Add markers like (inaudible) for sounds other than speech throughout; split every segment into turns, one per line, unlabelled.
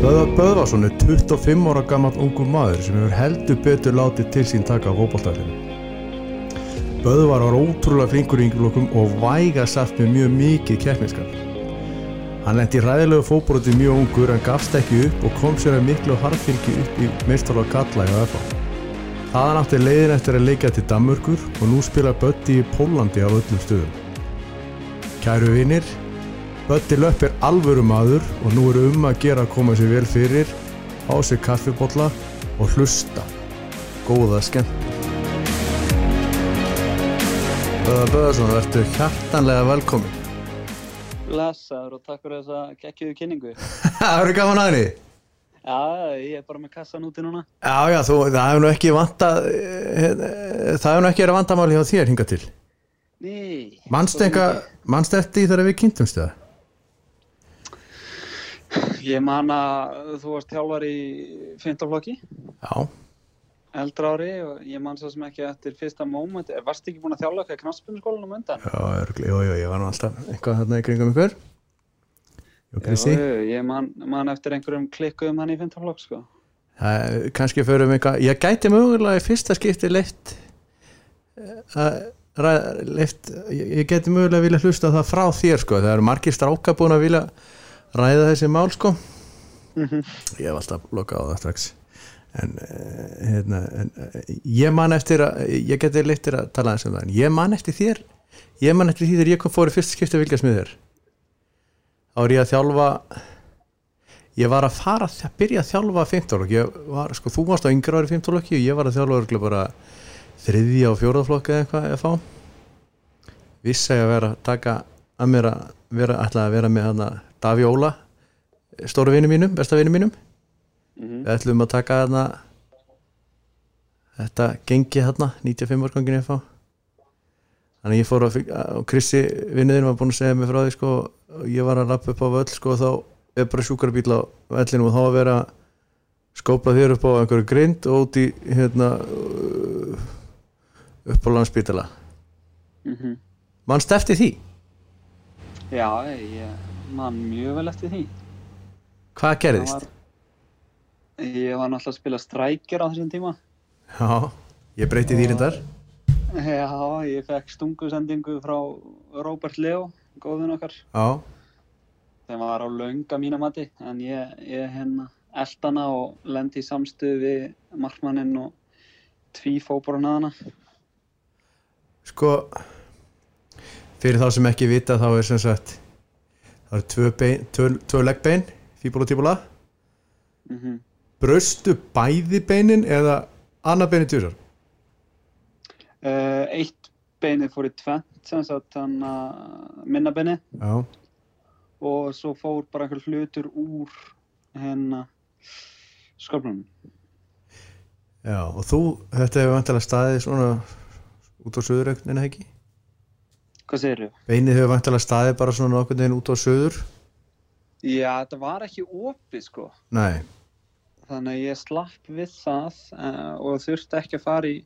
Böðvar Böðvarsson er 25 ára gammal ungur maður sem hefur heldur betur látið til sín taka á fókbaltæðinu. Böðvar var ótrúlega flinkur í yngjaflokkum og væga satt með mjög mikið keppniskap. Hann lendi ræðilegu fókbróti mjög ungur en gafst ekki upp og kom sér að miklu harfylgi upp í meistarlag Galla í ÖFA. Þaðan átti leiðin eftir að leika til Danmörkur og nú spila Bötti í Pólandi á öllum stöðum. Kæru vinnir, Bötti Löpp er alvöru maður og nú eru um að gera að koma sér vel fyrir, á sér kaffibotla og hlusta. Góða skemmt. Böða Böðarsson, verður hjartanlega velkomin.
Blessaður og takk fyrir þessa geggjöðu kynningu.
(laughs) það verður gaman að henni.
Já, ég er bara með kassan úti núna.
Já, já, þú, það hefur nú ekki vanta, það hefur nú ekki verið vandamál hjá þér hinga til.
Ný.
Manst enga, manst eftir því þegar við kynntumst það?
Ég man að þú varst þjálfar í 15 flokki,
Já.
eldra ári og ég man svo sem ekki eftir fyrsta móment. Varst ekki búin að þjálfa eitthvað knastbjörnskólanum undan?
Já, örgli, jú, jú, ég var nú alltaf eitthvað þarna í kringum ykkur. Jú, Krissi.
Jú, jú, ég man, man eftir einhverjum klikkuðum hann í 15 flokk, sko.
Það, kannski förum eitthvað, ég gæti mögulega í fyrsta skipti eh, leift leift, ég ég gæti mögulega vilja hlusta á það frá þér sko, það eru margir stráka búin að vilja ræða þessi mál sko ég hef alltaf lokað á það strax en, eh, hérna, en eh, ég man eftir að ég gæti leitt þér að tala þessum það en ég man eftir þér, ég man eftir því þegar ég kom fór í fyrsta skipti að vilja smið þér þá er ég að þjálfa ég var að fara að byrja að þjálfa 15 flokk, ég var, sko, þú varst á yngra ári 15 flokki og ég var að þjálfa örglega bara þriðja og fjórða flokki eða eitthvað eða fá vissi að ég að vera að taka að mér að vera, ætla að vera með hana Daví Óla stóru vinnu mínum, besta vinnu mínum
Mhm.
við ætlum að taka hana þetta gengi hana 95 árgangin eða fá Þannig að ég fór að, og Krissi vinnuðin var búinn að segja mig frá því sko, og ég var að lappa upp á völl sko, og þá er bara sjúkrabíl á vellinu og þá að vera að skópa þér upp á einhverju grind og út í hérna uh, upp á landspítala
Mm
mannst eftir því,
Já, ég man mjög vel eftir því.
hvað
Það
gerðist?
var- Ég var náttúrulega að spila strækir á þessum tíma.
Já, ég breyti því reyndar
Já, ég fekk stungusendingu frá Robert Leo, góðun okkar.
Já,
Þeim var á launga mína mati, en ég, ég hérna eldana og lendi í samstöðu við markmanninn og tví fóborun að um hana.
sko fyrir þá sem ekki vita þá er sem sagt það eru tvö, bein, tvö, tvö leggbein fíbula og tíbula
Mm -hmm.
bröstu bæði beinin eða annar beinin tjúsar
Eh, eitt beinið fór í tvent, sem sagt hann að minna beinið
Já,
og svo fór bara einhver hlutur úr hérna sköflunum.
já og þú, þetta hefur vantilega staðið svona út á söður en ekki?
Hvað segir þau?
Beinið hefur vantilega staðið bara svona okkur neginn út á söður
Já, þetta var ekki opið sko.
Nei,
þannig að ég slapp við það uh, og þurfti ekki að fara í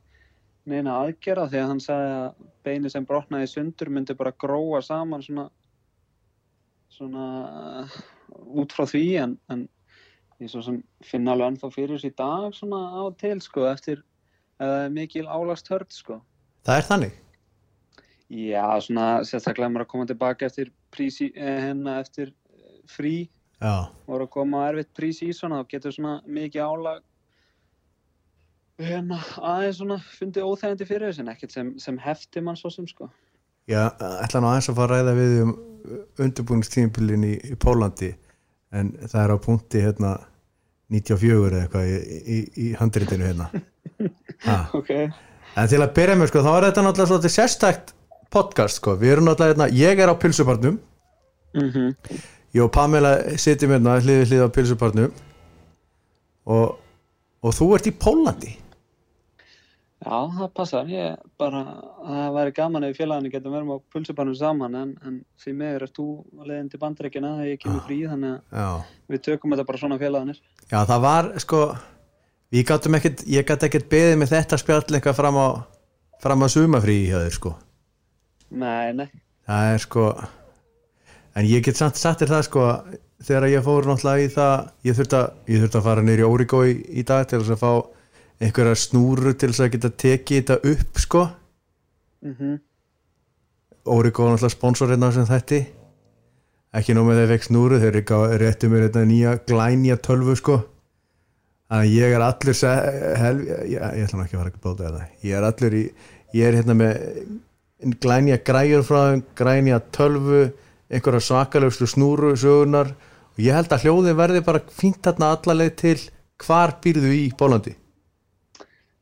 neina aðgerða því að hann sagði að beini sem brotnaði í sundur myndi bara gróa saman svona svona uh, út frá því en, en ég svo sem finn alveg ennþá fyrir þessu í dag svona á og til sko eftir uh, mikil álast hörð sko
það er þannig
já svona sérstaklega maður að koma tilbaka eftir prísi eh, hérna eftir eh, frí
Já,
voru að koma á erfitt prís í svona þá getur svona mikið álag hérna aðeins svona fundið óþægandi fyrir þessu en ekkert sem, sem hefti mann svo sem sko
ég ætla nú aðeins að fara að ræða við þig um undirbúningstíðinbílin í, í Pólandi en það er á punkti hérna 94 eða eitthvað í, í, í handritinu hérna ha.
ok
En til að byrja með sko, þá er þetta náttúrulega svolítið sérstakt podcast sko, við erum náttúrulega hérna, ég er á pilsubarnum
mm -hmm.
Ég og Pamela sitjum hérna hlið við hlið á pilsubarnum og, og þú ert í Pólandi
já það passar ég bara það væri gaman ef félaginu getum verið á pulsubarnum saman en, en því meður ert þú leiðin til bandreikina þegar ég kemur frí þannig að
Já
við tökum þetta bara svona félaginir
Já, það var sko við gátum ekkert, ég gat ekkert beðið með þetta spjall eitthvað fram á fram á sumafrí hjá þér sko
nei nei
það er sko en ég get samt sattir það sko þegar ég fór náttúrulega í það ég þurfti að, ég þurfti að fara niður í Órigó í, í dag til þess að fá einhverja snúru til þess að geta tekið þetta upp sko
mm
Órigó er náttúrulega sponsor hérna sem þetta ekki nóg með þeir vekk snúru þeir eru ekki að réttu mér þetta nýja glænja tölvu sko þannig að ég er allur se- hel, ég, ég ætla nú ekki að fara að bóta þetta ég er allur í ég er hérna með glænja græjur frá þeim glænja tölvu einhverja svakalegstu snúru sögunar og ég held að hljóðin verði bara fínt þarna allaleg til hvar býrðu í Bólandi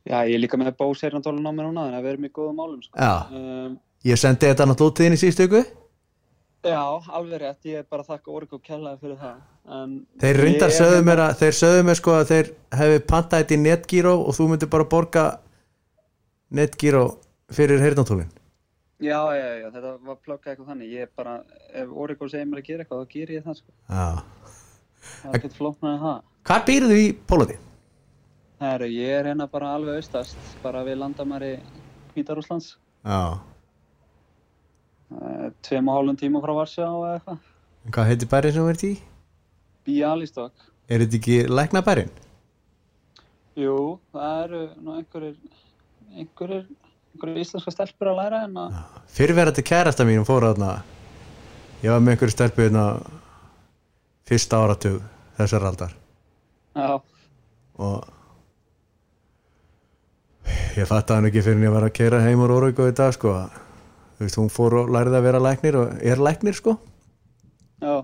Já, ég er líka með Bose heyrnatólun á mér núna þannig að við erum í góðum málum sko.
já,
um,
ég sendi þetta náttúrulega út til þín í síðustu ykkur
Já, alveg rétt, ég er bara að þakka Orgo kærlega fyrir það en
Þeir
ég
reyndar
er
sögðu
hérna-
mér að þeir sögðu mér sko að þeir hefði pantað þetta í netgíró og þú myndir bara borga netgíró fyrir heyrnatólin
Já, já, já, þetta var plokkað eitthvað þannig ég er bara, ef Orgo segir mér að gera eitthvað þá gerir ég það sko,
Já.
það er ekkert flóknar en það
Hvar býrðu í Pólandi?
Herru, ég er hérna bara alveg austast, bara við landamæri Hvítarúslands,
Já.
eh, tveim og hálfum tíma frá Varsjá eða eitthvað.
Hvað heitir bærin sem þú ert í?
Bialystok,
Er þetta ekki lækna bærin?
jú, það eru nú einhverjir, einhverjir, einhverjir íslenska stelpur að læra hérna. en að,
Fyrrverandi kærasta mínum fór aðna ég var með einhverju stelpu hérna fyrsta áratug þessar aldar
já,
og ég fatt að hann ekki fyrir en ég var að keira heim úr Óraugu í dag sko að, þú veist, hún fór og lærði að vera læknir og er læknir sko
já,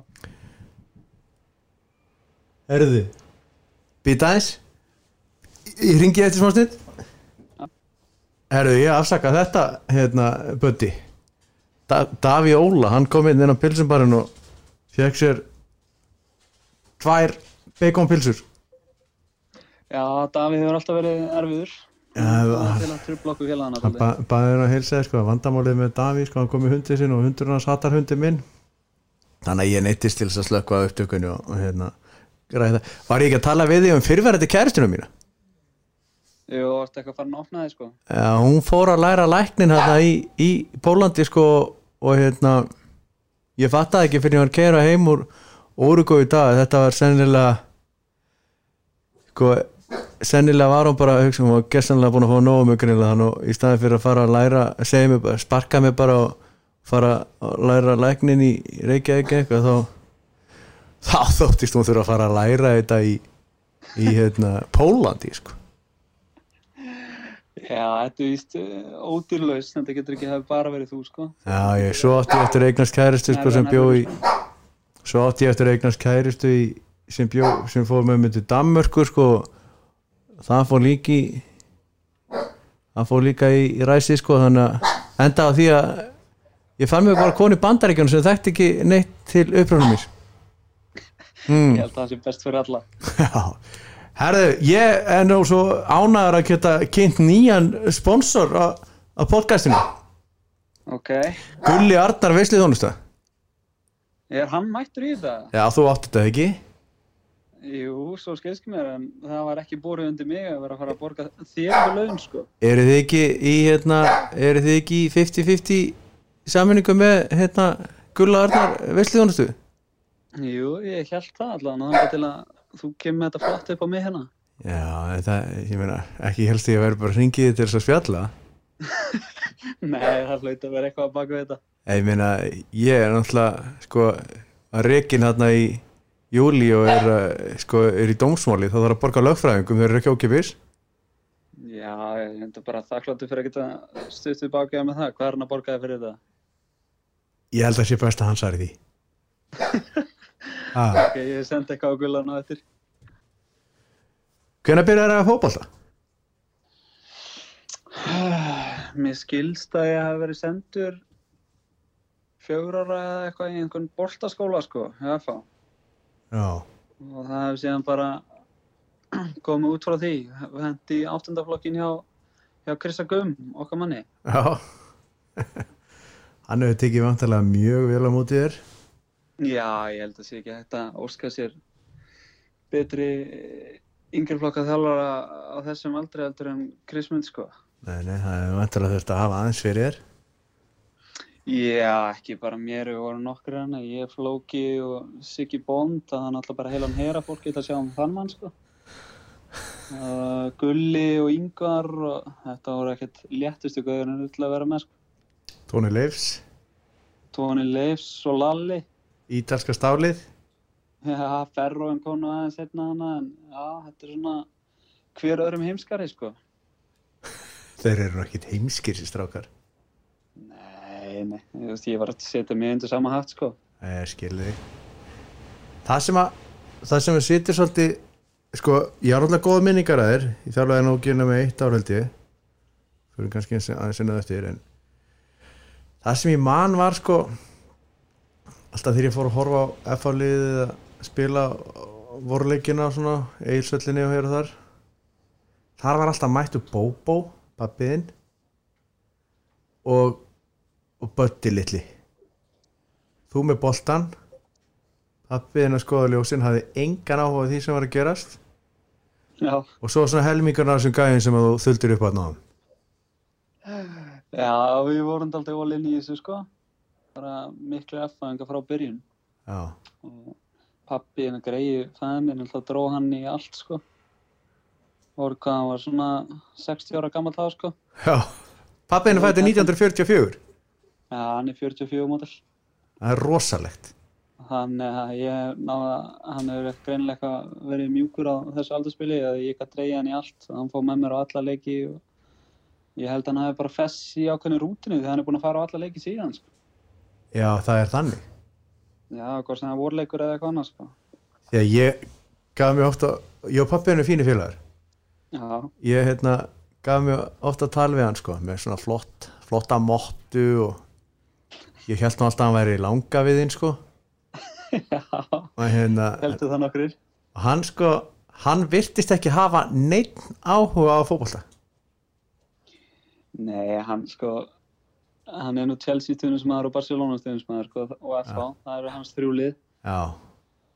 Erðu? Býta aðeins Ég ringi eftir smá stund Erðu, ég afsaka þetta hérna, Böddi da Daví Óla, hann kom inn inn á pilsumbarinn og fekk sér tvær baconpilsur
já, Davíð hefur alltaf verið erfiður.
Já,
Það er að trubla okkur félagana
hann
svolítið.
ba baði hann að heilsa þér, sko, vandamálið með Daví sko, hann kom í hundið sinn og hundur hans hattar hundið minn þannig að ég neittist til þess að slökka á upptökunni og, og hérna græða. var ég ekki að tala við því um fyrverandi kæristinu mína?
Jú, varstu eitthvað farin að opna þig sko.
Já, hún fór að læra læknin hérna í, í Pólandi sko og hérna ég fattaði ekki fyrir ég var að kera heim úr Úrugó í dag, þetta var sennilega sko sennilega var hún bara að hugsa, hún var gessanlega búin að fá nógu mjög greinlega þannig hérna og í staðin fyrir að fara að læra, segja mér bara, sparka mér bara og fara að læra læknin í Reykjavík eitthvað þá þá þóttist hún þurfa að fara að læra þetta í, í hérna, Pólandi sko
Já, þetta er víst eh, ódýrlaus, þetta getur ekki hafa bara verið þú sko.
Já, ég, svo átti ég eftir að eignast kæristu sko, sem bjó í svo átti ég eftir að eignast kæristu í, sem, bjó, sem fór með mig til Danmörku sko, það fór líki það fór líka í, í ræsi sko, þannig að enda á því að ég fann mig bara konu í bandaríkjunum sem þekkti ekki neitt til uppröfnum mér
Ég held að það sé best fyrir alla.
Já, herðu, ég er nú svo ánæður að geta kynnt nýjan sponsor á, á podcastinu
Ok,
Gulli Arnar Veislið Þónusta
er hann mættur í þetta?
Já, þú átti þetta ekki?
Jú, svo skilski mér en það var ekki borðið undir mig að vera að fara að borga þér fyrir laun sko.
Eru þið ekki í hérna, eru þið ekki í 50-50 sammenningu með hérna Gulla Arnar Vesliðónustu?
Jú, ég held það allan og þannig til að þú kemur með þetta flott upp á mig hérna.
Já, þetta, ég meina, ekki helst ég að vera bara hringið til þess að spjalla.
(laughs) Nei, það hlaut að vera eitthvað að baka við þetta.
En Ég meina, ég er náttúrulega, sko, að rekin hérna í júli og er, að, sko, er í dómsmáli, þá þarf að borga lögfræðingum, þeir eru ekki ókipis.
Já, ég hendur bara þakkláttu fyrir að geta stutt við baka með það. Hvað er hann að borga þér fyrir þetta?
Ég held að sé best að hann sari því. ah,
Ok, ég sendi eitthvað á gullan á eftir.
hvenær byrjar að fótbolta?
(sighs) Mér skilst að ég hafi verið sendur fjögur ára eða eitthvað í einhvern boltaskóla sko, eða fá.
Já.
og það hefur síðan bara (clears throat) komið út frá því hendi í áttundaflokkin hjá, hjá Krista Gum, okkar manni
Já. hann hefur tekið vantarlega mjög vel á móti þér.
já, ég held að sé ekki hægt að óska sér betri yngjörflokka þjálfara á þessum aldrei heldur en Krismund sko
Nei, nei, það er vantilega þurft að hafa aðeins fyrir þér
Já, ekki bara mér, við vorum nokkur hana, ég, Flóki og Siggi Bond, að hann alltaf bara heilan hera fólk geta að sjá um þann mann, sko. Uh, Gulli og Yngvar og þetta voru ekkert léttustu gauðunir til að vera með, sko.
Tóni Leifs,
Tóni Leifs og Lalli, (laughs)
Ítalska stálið
já, Ferróin konu aðeins hérna hana, en já, þetta er svona hver öðrum heimskari, sko.
Þeir eru nú ekkit heimskir sér strákar
Nei, nei, þú veist, ég var að setja mig undir sama hatt, sko.
Ég skilði Eh, Það sem að það sem að situr svolítið sko, ég har alltaf góða minningar að þér ég þjálfaði nú gynna með eitt ár held ég fyrir kannski eins- aðeins ennað eftir en það sem ég man var sko alltaf þegar ég fór að horfa á FH-liðið að spila voruleikina og svona, eigilsvöllinni og hér og þar þar var alltaf mættu Bóbó, pappiðinn og og Bötti litli þú með boltan pappiðinn að skoða ljósin hafði engan áhuga á því sem var að gerast
Já,
og svo svona helmingarna af þessum gæðin sem að þú þuldur upp að náðum
já, við vorum alltaf all inni í þessu, sko. Bara miklu effaðingar frá byrjun.
já,
og pappi hennar greiði fæðin alltaf dró hann í allt sko voru hvað hann var svona 60 ára gammal þá sko
já. pappiðinn er fættið 1944
ja, hann er 44 mótil
það er rosalegt
þannig að eh, ég náða hann hefur greinilega eitthvað verið mjúkur á þessu aldurspili að ég gæti dreigja hann í allt hann fóð með mér á alla leiki og ég held að hann hafi bara fess í ákveðinu rútinu því hann er búinn að fara á alla leiki síðan sko.
já, það er þannig
já, hvort sem það voru leikur eða eitthvað annars sko.
því að ég gaf mér ofta ég og pappiðinn er fínir félagar
já, (laughs)
ég hérna gaf mér ofta tal við hann sko með svona flott, flotta mottu og ég held nú alltaf að hann væri langa við þinn sko
já,
og hérna,
heldur það nokkur
og hann sko hann virtist ekki hafa neitt áhuga á fótbolta
Nei, hann sko hann er nú Chelsea stuðnismæður og Barcelona stuðnismæður sko, og FH, það eru hans þrjúlið
já,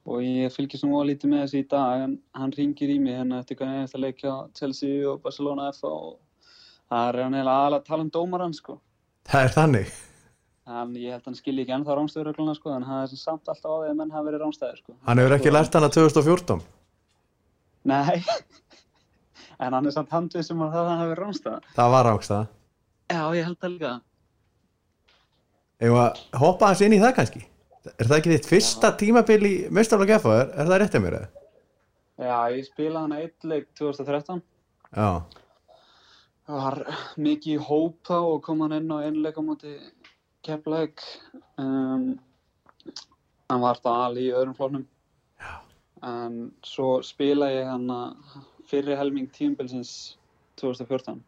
og ég fylgist nú að lítið með þessu í dag en hann ringir í mig hérna eftir hvernig eftir að leikja Chelsea og Barcelona FH og það er hann eiginlega aðalega að tala um dómarann sko
það er þannig
hann, ég held að hann skilji ekki ennþá rámstöðurögluna sko en hann er sem samt alltaf á því að menn hafa verið rámstæðir sko
hann hefur ekki lært hann að 2014
Nei (laughs) en hann er samt handið sem að það hafi verið rámstæðar
það var ángst það
Já, ég held það líka
ef að hoppa hans inn í það kannski er það ekki þitt fyrsta tímabil í mestarlag F er, er það réttið mér eða?
Já, ég spilaði hann eitt leik 2013
já,
Það var mikið í hópa og kom hann inn á einleik á móti keppleik. Um, hann var það alveg í öðrum flóknum. En svo spila ég hann fyrri helming tíumbilsins 2014.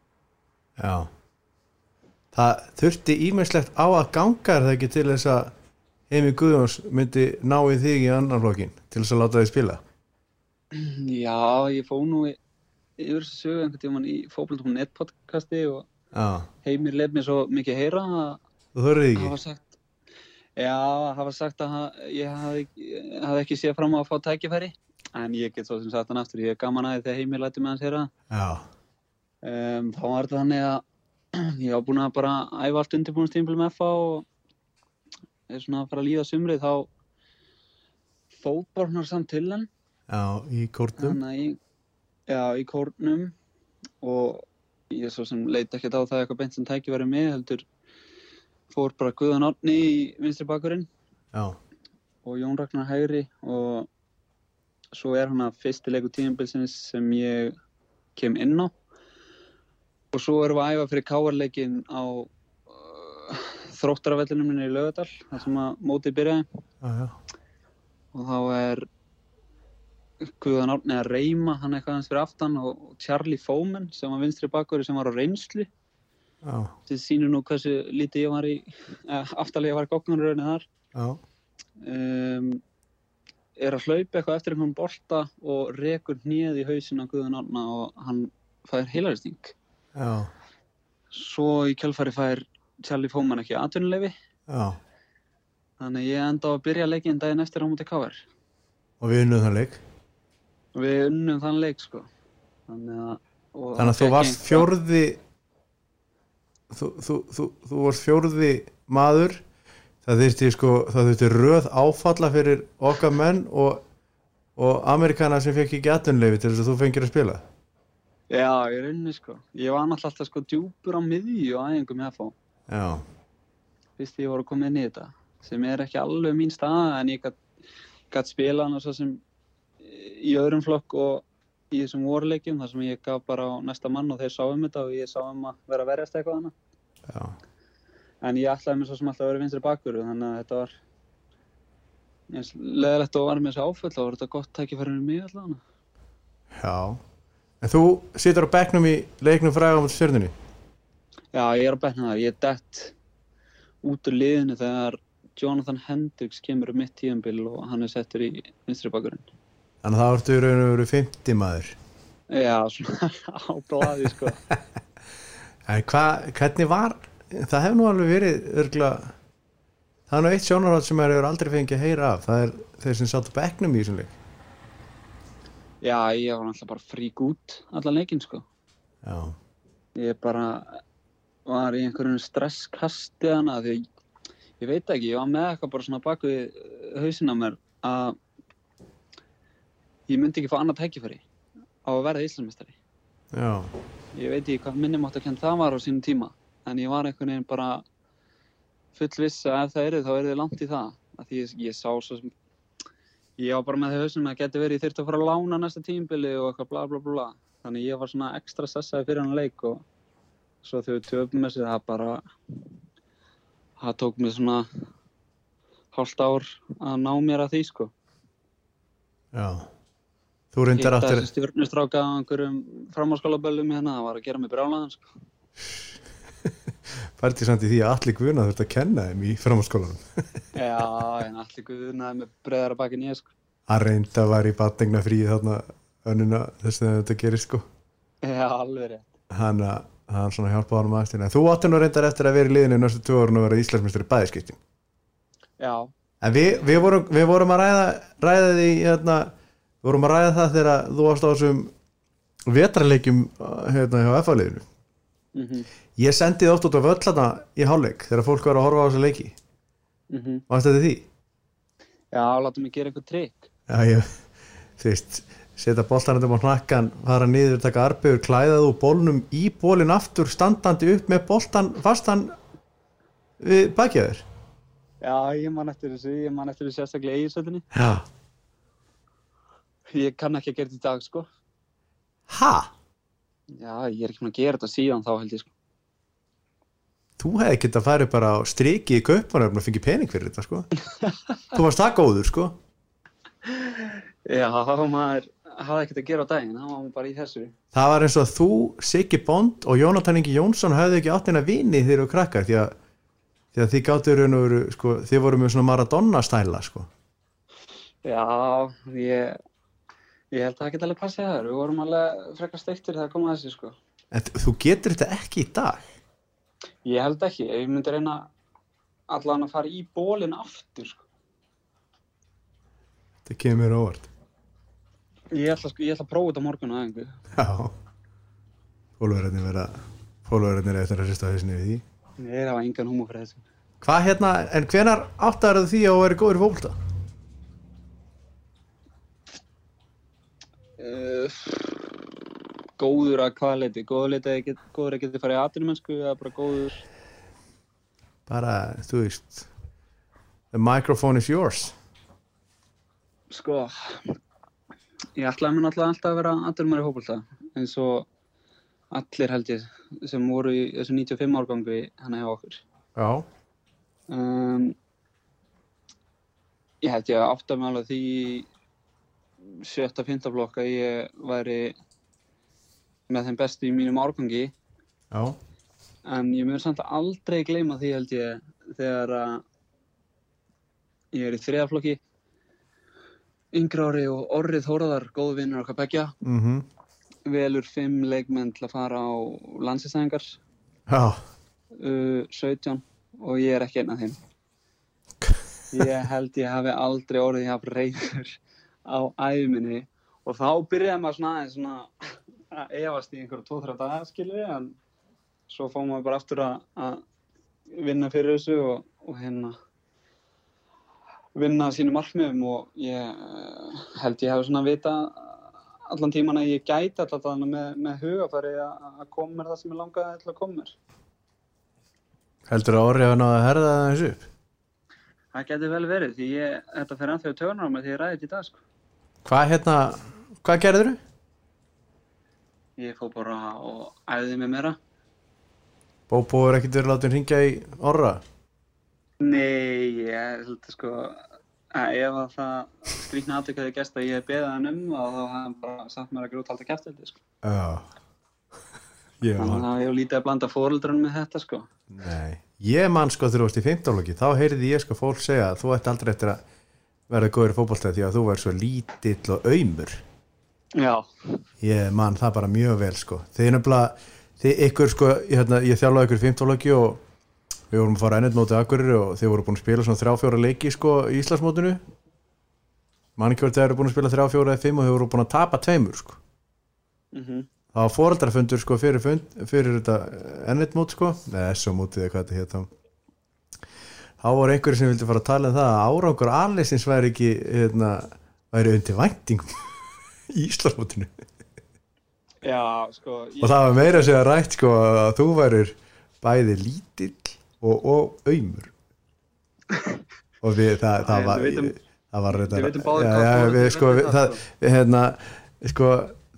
já það þurfti ímennslegt á að ganga er það ekki til þess að Emi Guðjóns myndi ná í þig í annan flokkin til þess að láta þig spila
Já, ég fóð nú í- yfir þessu sögu einhvern tímann í fókbaltum.net podcasti og
já,
Heimir lef mér svo mikið heyra að
þú þurfið
hafa
ekki
sagt Já, að hafa sagt að ha- ég hafði ég hafði ekki séð fram á að fá tækifæri en ég get svo sem sagt hann aftur ég er gaman að því þegar heimir læti með hans heyra
já,
um, þá var þetta þannig að (clears throat) ég var búin að bara æfa allt undirbúinstímpil með FA og er svona að fara að líða sumrið þá fótbornar samt til hann
já, í kórnum
þannig að ég já, í kórnum og ég svo sem leit ekkert á það eitthvað beint sem tækifæri með heldur fór bara Guðan Árni í vinstri bakurinn
já,
og Jón Ragnar Hægri og svo er hann að fyrsti leiku tímabilsins sem ég kem inn á og svo erum við að æfa fyrir káarleikin á uh, þróttaravellinum minni í Laugardal þar sem að mótið byrjaði
já, já
og þá er Guðan Árni að reyma hann eitthvað hans fyrir aftan og og Charlie Foman sem var vinstri bakkvöri sem var á reynslu
já,
sem sýnir nú hversu lítið ég var í eh, aftalega var góknaruröðinni þar
já,
um, er að hlaupa eitthvað eftir einhvern bolta og rekur hnið í hausin á Guðan Arna og hann fær heilaristing.
já,
Svo í kjálfari fær Charlie Fóman ekki atvinnuleifi,
já.
þannig að ég enda á að byrja leikinn daginn eftir á múti káver.
og við unnum þann leik
Við unnum þann leik sko. Þannig að, og
þannig að þú
fékk
varst
ég-
fjórði þú, þú, þú, þú varst fjórði maður það þurfti sko, það þurfti röð áfalla fyrir okkar menn og, og Amerikana sem fekk ekki atunleifi til þess að þú fengir að spila
Já, ég raunni sko. Ég var náttúrulega alltaf sko djúpur á miðju og æðingum ég að fá.
já,
fyrst þegar ég voru að koma inn í þetta sem er ekki alveg mín staða en ég gætt spila hann og svo sem í öðrum flokk og í þessum vorleikjum þar sem ég gaf bara á næsta mann og þeir sáum þetta og ég sáum að vera að verjast eitthvað hana
já,
en ég ætlaði mér svo sem alltaf að vera vinstri bakur þannig að þetta var eins leðilegt og var með þessi áföll þá var þetta gott tækifæri fyrir mig alltaf hana
já en þú situr á bekknum í leiknum frægum á stjörnunni
Já, ég er að betna það, ég er dett út úr liðinu þegar Jonathan Hendricks kemur um mitt tíðanbíl og hann er settur í vinstri bakurinn
þannig að það ertu í raun og veru 50 maður
Já, svona (laughs) á blaði sko.
en hva, hvernig var það hefur nú alveg verið örgla það er nú eitt sjónarhald sem maður hefur aldrei fengið að heyra af það er þeir sem satt á bekknum í þessum leik
Já, ég var náttúrulega bara frík út allan leikinn sko.
já,
Ég bara var í einhverjum stresskasti hana því að ég veit ekki, ég var með eitthvað bara svona bak við hausina mér að ég myndi ekki fá annað tækifæri á að verða Íslandsmeistari.
já,
Ég veit ekki hvað minnum átt að kenna það var á sínum tíma en ég var einhvern veginn bara fullviss að ef það eru þá eru þið langt í það. Af Því ég, ég sá svo sem ég var bara með þau hausnum að geti verið ég þurfti að fara að lána næsta tímbili og eitthvað bla bla bla bla. þannig ég var svona ekstra sessaði fyrir hann leik og svo þegar við töfum þessi það bara það tók mig svona hálft ár að ná mér að því sko
já þú reyndar
hitta
aftur
þessi stjórnustráka á einhverjum framháskólaböllum hérna það var að gera mig brjálaðan sko
fært í samt í því að allir guðna þurft að kenna þeim í framhanskólanum
já, en allir guðunaði með breyðara bakinn ég sko
að reynda var í batningna frí þarna önnuna þess að þetta gerist sko
já, alveg rétt
hann, að- hann svona hjálpaði hann maður en þú áttu nú reyndar eftir að vera í liðinu næstu tvö árun og vera Íslandsmeistari í bæðiskiptin
já,
En við, við, vorum, við vorum að ræða, ræða því hérna, við vorum að ræða það þegar þú varst á þessum vetrarleikjum hérna hjá FA-liðinu
mhm, mhm
Ég sendi það oft út á völlana í hálfleik þegar fólk var að horfa á þessu leiki Varst þetta því?
mhm. já, látum mig gera eitthvað trikk
Já, ég, þú veist, setja boltanandum á hnakkan fara niður, taka arbegur, klæða þú bólnum í bólin aftur, standandi upp með boltan, fastan við bakjaður
já, ég man eftir þessu, ég man eftir þessu sérstaklega eiginsöldinni
Já
Ég kann ekki að gera þetta í dag, sko.
Ha?
Já, ég er ekki með að gera þetta síðan þá held ég, sko.
Þú hefði getað að fara bara á striki í kaupanöfn og fengið pening fyrir þetta sko Þú varst það góður sko
Já, þá maður hafði ekkert að gera á daginn, þá var maður bara í þessu.
Það var eins og að þú, Siggi Bond og Jónatan Ingi Jónsson höfðu ekki átt eina vini þegar þú krakkar því að, því að þið gáttu raun og veru sko, þið voru með svona Maradona stæla sko
Já, ég, ég held að það geta alveg passið það. Við vorum alveg frekar steiktir þegar komað þessu, sko.
En þ- þú getur þetta ekki í dag
Ég held ekki, ef ég myndi reyna allan að fara í bólinn aftur, sko.
Það kemur á orð
Ég ætla, sko, ég ætla að prófa þetta á morgun og aðeingu.
Já Fólverðarnir verða Fólverðarnir eftir að sérsta hausinni við því
Ég er að hafa engan húmur fyrir þessu.
Hvað hérna, en hvenar áttar því að vera góður í fólkta?
Uh, góður að hvaða leiti? Góður leiti að get, góður að geti farið í atvinnumennsku eða bara góður
Bara, þú veist The microphone is yours
Sko, ég ætlaði mér náttúrulega alltaf að vera aðdurmar í hópulta eins og allir held ég sem voru í þessu 95 árgangu hann hjá okkur.
Já
Um, ég held ég að átta mig alveg á því sjötta, fynda blokk að ég væri með þeim bestu í mínum árgangi
Já,
en ég mun samt aldrei gleyma því held ég þegar að ég er í þriðaflokki yngra ári og orrið Þóraðar, góðu vinnur okkar begja
mm
velur fimm leikmenn til að fara á landsistæðingar
já,
uh, 17 og ég er ekki einn af þeim ég held ég hafi aldrei orðið ég hafi reyður á æfuminni og þá byrjaði maður svona aðeins svona að efast í einhverja 2-3 daga skilur en svo fóðum maður bara aftur að, að vinna fyrir þessu og og hérna vinna að sínum markmiðum og ég eh, held ég hefði svona vita allan tíman að ég gæti alltaf þannig með, með hugafæri að að koma mér það sem ég langaði til að koma mér.
Heldur að orðið að náða að herða það þessu upp?
Það getur vel verið því ég, þetta fer anþjóð tögunar á mig því ég ræði þetta í dag sko.
Hvað hérna, hvað gerður þú?
Ég fór bara og æði mig meira.
Bóbó er ekkert verið látið hringja í orra
Nei, ég er svolítið sko að ef að það skrýtna aðtökaði gæst að ég hef beðið hann um og þá hafði hann bara sagt mér að grúta alltaf kæftildi sko.
Já (laughs) Ég
Þannig
man,
að ég hef lítið að blanda fóreldrunum með þetta sko.
nei Ég man sko þegar þú varst í 15 lóki þá heyrði ég sko fólk segja að þú ætti aldrei eftir að verða góður í fótbolta því að þú væri svo lítill og aumur
Já,
Ég man það bara mjög vel sko Þið er nefnilega, þið ykkur sko ég, hérna, ég þjálfaði ykkur í 15 lóki og við vorum að fara ennett mótið akkurir og þið voru búin að spila svona 3-4 leiki sko í Íslandsmótinu Man ekki verið þegar þið eru búin að spila 3-4 eða 5 og þið voru búin að tapa tveimur sko
mhm.
það var foreldrafundur sko fyrir, fund, fyrir þetta ennett mót sko eða SO mótið eða hvað þetta hétt þá þá voru einhverju sem vildi fara að tala um það að árangur aðleysins væri ekki hérna, væri undir væntingum (laughs) í Íslandmótinu
Já, sko, ég,
og það var meira sem að rætt sko að þú værir bæði lítill og, og
(laughs)
aumur og við það, það
Já,
var
við vitum-
það var
við vitum báðir
já,
hvað
já,
fór-
við,
við
sko,
vitum
við,
það,
það, hérna, sko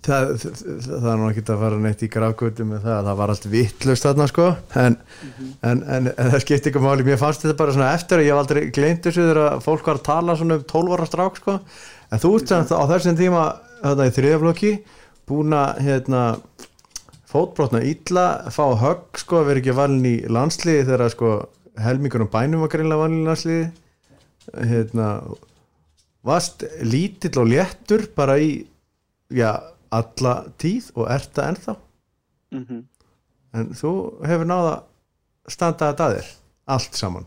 það, það, það er nú ekki að fara neitt í grafgöldum með það, það var allt vittlust þarna sko en,
Mhm.
en, en, en það skipti ykkur máli, mér fannst þetta bara svona eftir að ég hef aldrei gleymt þessu þegar að fólk var að tala svona um 12 ára strák sko en þú ert samt á þessum tíma þetta í þriðaflokki búin að hérna, fótbrotna illa fá högg sko að vera ekki valin í landsliði þegar að sko helmingur um bænum var greinlega valin í landsliði hérna varst lítill og léttur bara í já, alla tíð og ert það ennþá
mhm.
en þú hefur náða standa þetta að þér allt saman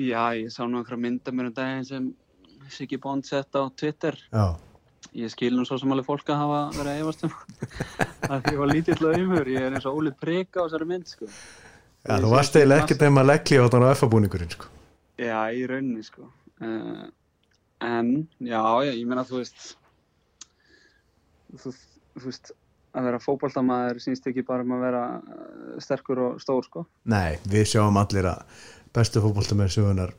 já, ég sá nú einhverja mynda mér um daginn sem Siggy Bond sett á Twitter.
já,
Ég skil nú svo sem alveg fólk að hafa verið að efast um (laughs) að því ég var lítill og umhör. Ég er eins og Óli Prika á þessari mynd, sko.
já þú varst eiginlega ekkert nema leggli á þannig á F-búningurinn sko
Já, í rauninni, sko. Uh, en, já, já, ég meina, þú veist, þú, þú veist, að vera fótboltamaður sínst ekki bara um að vera eh, sterkur og stór, sko.
Nei, við sjáum allir að bestu fótboltamenn sögunar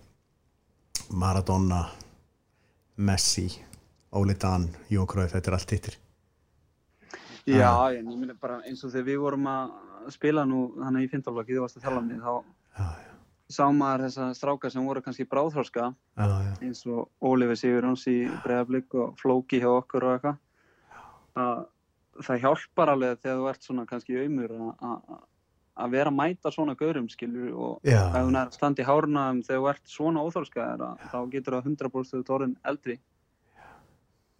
Maradona Messi, Óli Dan Jón Króið, þetta er allt hittir
Já, en ég meina bara eins og þegar við vorum að spila nú þannig í fintaflokki, þú varst að þjálfa mig, þá
Já, já,
sá maður þessa stráka sem voru kannski bráðhorska
já, já
eins og Ólífi Sigurjóns í Breiðablík og Flóki hjá okkur og eitthvað. Að Það hjálpar alveg þegar þú ert svona kannski auðmur að vera að mæta svona gaurum skilur og
Já.
ef hún er að standa í hárna um þegar þú ert svona óþórskaðar þá getur það 100% út orðin eldri.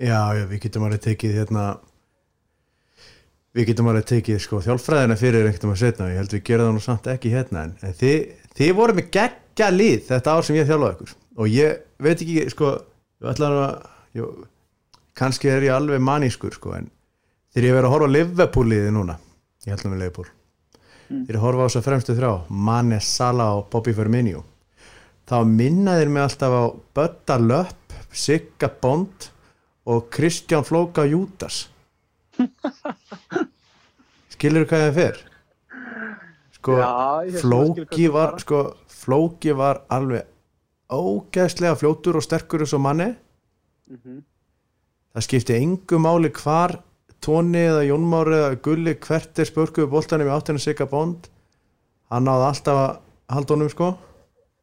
Já, já, við getum alveg tekið hérna við getum alveg tekið sko þjálfræðina fyrir einhvern veginn að setna ég held við gera það nú samt ekki hérna en, en þið, þið voru með geggja lið þetta ár sem ég þjálfaði ykkur og ég veit ekki sko ég ætla nú að, jó, kannski er ég alveg manískur sko en þegar ég verið að horfa á Liverpool liðið núna ég held nú með Liverpool þegar ég horfa á þess að fremstu þrjá Mane, Salah og Bobby Firmino þá minna þeir mig alltaf á Bötta Löpp, Sigga Bond og Kristján Flóka
(laughs)
Júdas skilur hvað það fer sko
Já, ég skil-
Flóki
skil hvað þú
var
fara.
sko, Flóki var alveg ógeðslega fljótur og sterkur eins og manni
Mhm.
það skipti engu máli hvar Tóni eða Jónmári eða Gulli hvert er spörkuðu boltanum í áttinu Sigga Bond hann náði alltaf að halda honum sko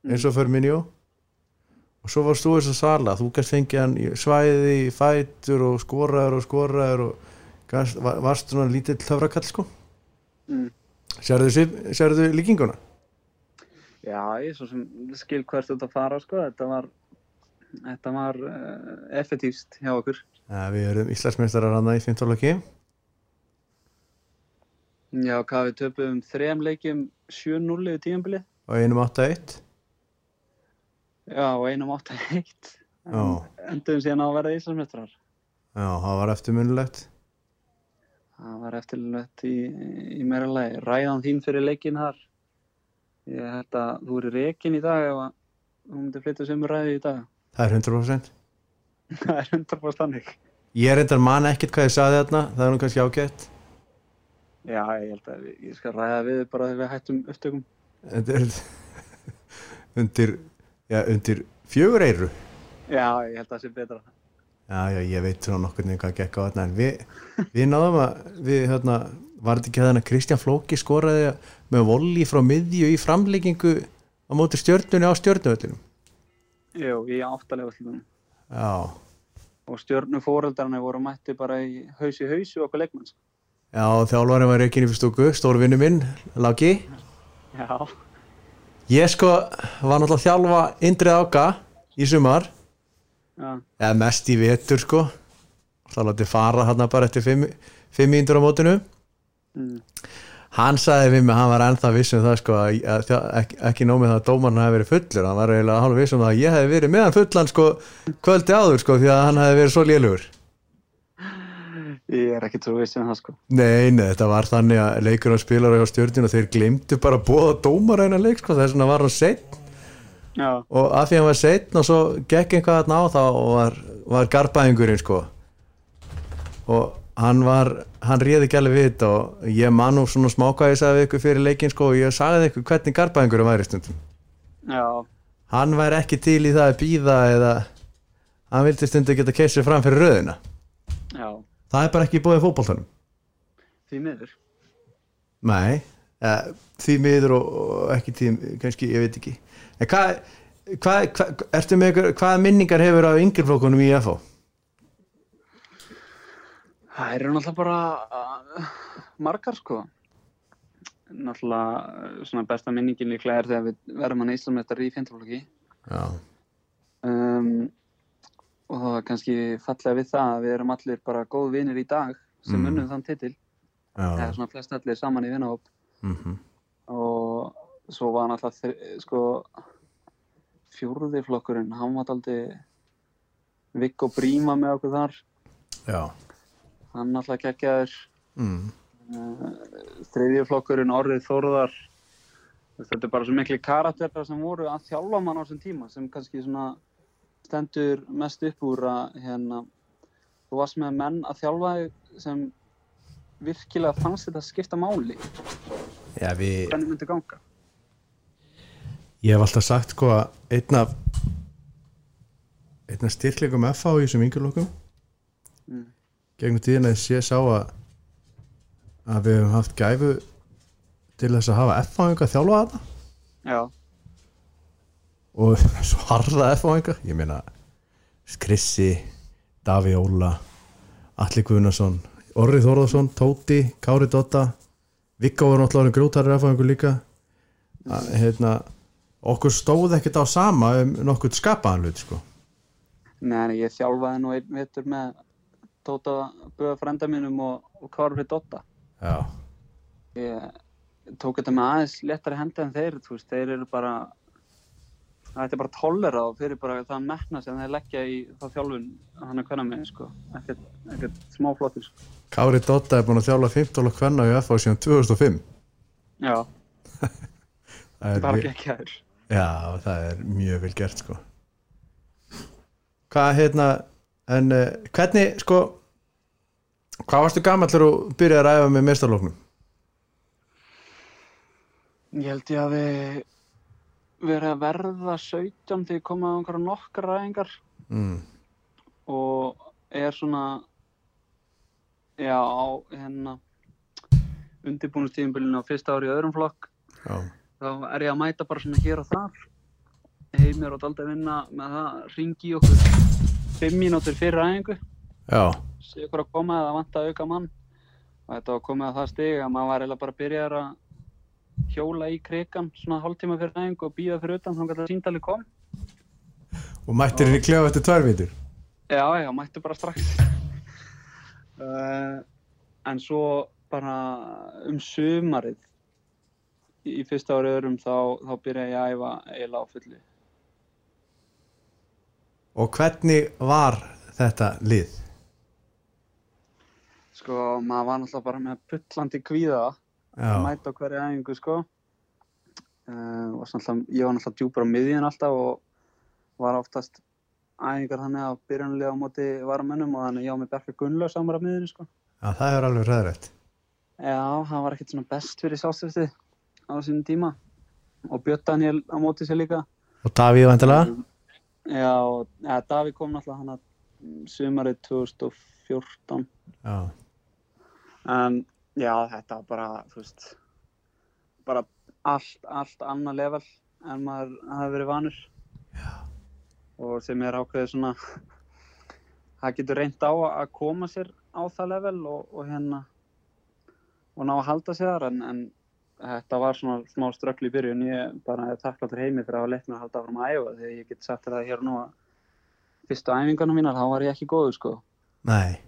eins og fyrir minjó og svo varst þú þess að sala þú gæst fengið hann í svæði í fætur og skoraður og skoraður og gast, var, varst svona lítill höfrakall sko
Mm.
sérðu, svip- sérðu líkinguna?
Já, ég svo sem skil hvert þetta fara sko, þetta var, þetta var uh, effektífst hjá okkur.
Ja, við erum Íslandsmeistarar hann í 15 loki
Já, hvað við töpuðum þrem leikjum 7-0 í tímanbili,
og einum 8-1
já, og einum 8-1,
já,
enduðum síðan á að verða Íslandsmestrar.
já, það var eftirmunulegt
Það var eftirlunett í, í meira lagi, ræðan þín fyrir leikinn þar, Ég held að þú eru rekin í dag ef að þú myndir flytja sömu ræði í dag. (laughs)
það er 100%
Það er 100% þannig.
ég reyndar man ekkert hvað ég saði þarna það er nú kannski ágætt
Já, ég held að við, ég skal ræða við þig bara þegar við hættum upptökum.
Þetta er (laughs) undir, já, undir fjögur eiru
Já, ég held að það sé betra.
já, já, ég veit svona nokkur nefnir hvað gekk á þarna en við, við náðum að við, hérna, var þetta ekki að Kristján Flóki skoraði með volli frá miðju í framleggingu á móti stjörnunni á stjörnuvöllunum
Jú, í áttalegu allir.
já,
Og stjörnu fóreldarna voru mætti bara í haus í hausu okkur sko. leikmanns.
já, þjálfarinn var reikinni fyrir stúku stórvinnu minn, Láki
Já,
ég sko var náttúrulega að þjálfa Indrið Áka í sumar
já,
eða mest í vetur sko þá látið fara hérna bara eftir 500 á mótinu
mm.
hann sagði við mig, hann var ennþá viss um það sko, að, að, þjá- ekki, ekki nómið það að dómarinn hafi verið fullur, hann var eiginlega hálf viss um það að ég hef verið með hann fullan sko kvöldi áður sko, því að hann hef verið svo lélugur
ég er ekkert svo viss um það sko.
nei, nei, þetta var þannig að leikur og spilar á stjórnina, þeir glimtu bara að bóða dómarinn að leik sko, þess vegna var hann seitt
Já,
og af því hann var seitt og svo gekk einhvað þarna á þá og var, var garbaðingurinn sko og hann var, hann réði ekki alveg við þetta og ég man nú svona smá hvað ég sagði við ykkur fyrir leikin sko og ég sagði ykkur hvernig garbaðingurinn væri stundum
já,
hann væri ekki til í það að býða eða hann vildi stundu geta keisið fram fyrir röðina
já,
það er bara ekki búið fótboltanum
því miður.
nei, e, því miður og, og ekki því, kannski, ég veit ekki en hvað hva, hva, ertu með ykkur, hvaða minningar hefur á yngirflokkunum í FH?
Það eru náttúrulega bara uh, margar sko. Náttúrulega uh, svona besta minningin líklega er þegar við verðum hann Íslamrættar í fjöndaflokki.
já,
Um, og það var kannski fallega við það að við erum allir bara góð vinir í dag sem
Mm.
mm. unnum þann titil. Það
já,
er svona flest allir saman í vinahóp.
mhm,
og svo var náttúrulega þri- sko fjórði flokkurinn, hann var aldrei Viggo Bríma með okkur þar
já
hann náttúrulega geggjaður
mm.
þriðji flokkurinn Orrið Þórðar þetta er bara svo mikli karakterar sem voru að þjálfa mann á þessum tíma sem kannski svona stendur mest upp úr að hérna, þú varst með menn að þjálfa þig sem virkilega fannst þetta skipta máli
já, við
hvernig myndi ganga
Ég hef alltaf sagt sko að einn af einn af styrkleikum FH í þessum yngjurlokum mm.
Mm.
gegnum tíðina sé sá að að við hefum haft gæfu til þess að hafa FH einhver þjálfa þetta
já,
og (laughs) svo harða FH einhver ég meina Skrissi Daví Óla Atli Guðnason, Orri Þorðarsson Tóti, Kári Dotta Viggo var náttúrulega grjótarri FH einhver líka að, hérna okkur stóð ekkert á sama um nokkur skapaðan hlut sko
Nei, nei, ég þjálfaði nú einn vettur með Tóta Böða frenda mínum og, og Kárfi Dotta.
Já,
Ég tók þetta með aðeins léttari hendi en þeir, þú veist, þeir eru bara þetta er bara tollera og þeir eru bara það að metna sem þeir leggja í þá þjálfun hann að hverna með, sko, ekkert, ekkert smáflottir, sko.
Kári Dotta er búin að þjála 15 og hvenna í FH síðan 2005
Já,
það er,
bara
mjög-
ekki aður.
Já, það er mjög vel gert sko Hvað hérna en uh, hvernig sko hvað varstu gamall þegar þú byrjaði að ræfa með mestarlóknum?
Ég held ég að við verið að verða 17 þegar komaði einhverja nokkra ræðingar
Mm.
og er svona já á hérna undirbúinustíðinbílinu á fyrsta ári í öðrum flokk
Já,
þá er ég að mæta bara svona hér og þar heimir og daldi að vinna með það ringi í okkur 5 mínútur fyrir æfingu
já,
sé okkur að koma eða vanta að auka mann og þetta var komið að það stig að maður var eiginlega bara að byrja að hjóla í krigan svona hálftíma fyrir æfingu og býða fyrir utan þannig að það síndali kom
og mættir henni klefa eftir tvær vitur
Já, já, mættu bara strax. (laughs) uh, en svo bara um sumarið í fyrsta ári öðrum þá, þá byrja ég að æfa eiginlega á fullu.
Og hvernig var þetta lið?
Sko, maður var náttúrulega bara með pullandi kvíða að
Já,
mæta á hverja æfingu, sko. uh, og svona, alltaf- ég var náttúrulega djúpar á miðjun alltaf og var oftast æfingar þannig að byrjanlega á móti varamennum og þannig að ég á mig Bjarka Gunnlaug samar á miðjunni sko.
Já, það er alveg ræðrætt
Já, hann var ekkert svona best fyrir sjálfstöftið á sínum tíma og Björn Daniel á móti sér líka
Og Davíð vantilega
Já, og ja, Davíð kom náttúrulega hann að sumarið 2014
Já,
en já, þetta var bara, þú veist bara allt, allt annað level en maður hafi verið vanur já. og sem er ákveðið svona það getur reynd á að koma sér á það level og, og hérna og ná að halda sér þar en, en þetta var svona smá ströggl í byrjun ég bara er þakkláttur heimi fyrir að hafa leitt mér að halda áfram að æfa því að ég get sagt þér það hér og nú að fyrstu æfingarna mínar, þá var ég ekki góður sko
nei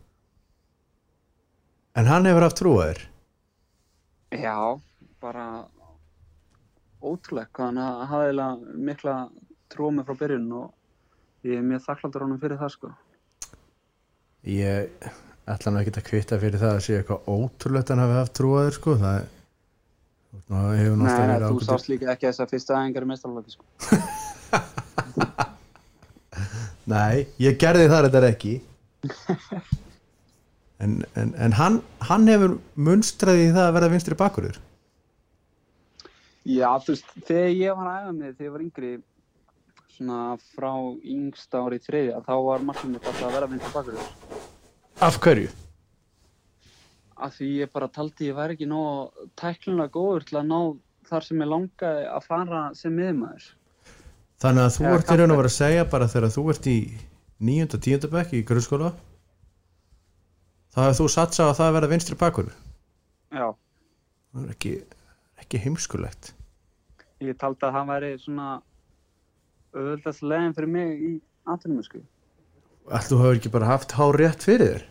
En hann hefur haft trúaður
Já, bara ótrúlega hvað hann ha- hafði eiginlega mikla trúa mig frá byrjun og ég er mjög þakkláttur honum fyrir það sko.
Ég ætla nú ekki að kvita fyrir það að sé eitthvað ótrúlegt að hann hafi haft trúaður sko Það er Nú hefur hann alltaf
Nei,
verið
þú
ágætur-
sást líka ekki þess að fyrsta æfingar í meistarlóki sko.
Nei, ég gerði það þetta ekki
(laughs)
En, en, en hann, hann hefur munstraði í það að verða vinstri bakurur
Já, þú veist, þegar ég var að æfa mig þegar ég var yngri svona frá yngst ári í þriðja þá var markmið mitt alltaf að vera vindur bakur
Af hverju?
af því ég bara taldi ég væri ekki nóg tæklinlega góður til að ná þar sem ég langaði að fara sem miðmaður.
Þannig að þú
Já,
ert í raun og var að segja bara þegar þú ert í níunda, tíunda bekk í grunnskóla þá hefur þú satsað á það að verða vinstri bakurur
Já.
Það er ekki, ekki heimskulegt
ég taldi að það væri svona auðvöldast leginn fyrir mig í atvinnum sko.
Allt þú hefur ekki bara haft hár rétt fyrir þér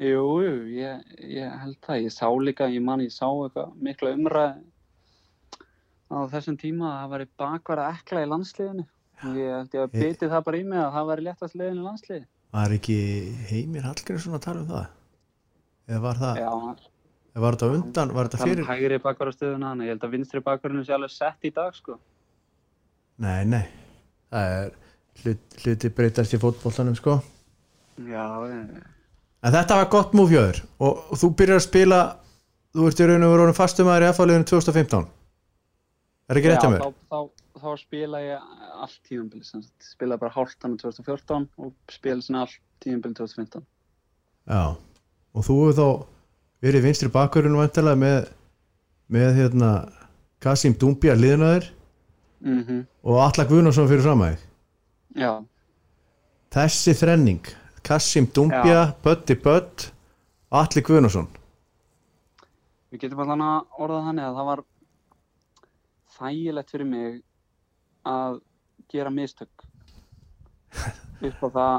Jú, jú, ég, ég held það, ég sá líka, ég man ég sá eitthvað mikla umræði á þessum tíma að það væri bakvara ekla í landsliðinu og ég held ég að
Ég-
bytti það bara í mig að það væri léttast leginn í landsliði
Var ekki Heimir Hallgrímsson að tala um það? Eða var það,
Já,
eða var Ah. þetta á undan, var þetta
það er
fyrir?
hægri bakvara stöðuna þannig, ég held að vinstri bakvarinu sé alveg sett í dag sko.
Nei, nei, það er hlut, hluti breytast í fótbollanum sko
Já, ég,
En þetta var gott múf hjöður og, og þú byrjar að spila þú ert í raun og veru orðinn fastumæður í FH-liðinu 2015 Er ekki rétt að mér?
Já, þá, þá, þá spila ég allt tíðumbili, spila bara hálftan á 2014 og spila sinna allt tíðumbili 2015.
Já, og þú hefur þá verið vinstri bakverðinu vantilega með, með hérna Kasim Dúmbja liðnaður
Mm
og Alla Guðnarsson fyrir framæg
Já,
Þessi þrenning Kasim Dúmbja, Bötti Bött Alli Guðnarsson
við getum allan að orða þannig að það var þægilegt fyrir mig að gera mistök upp á það,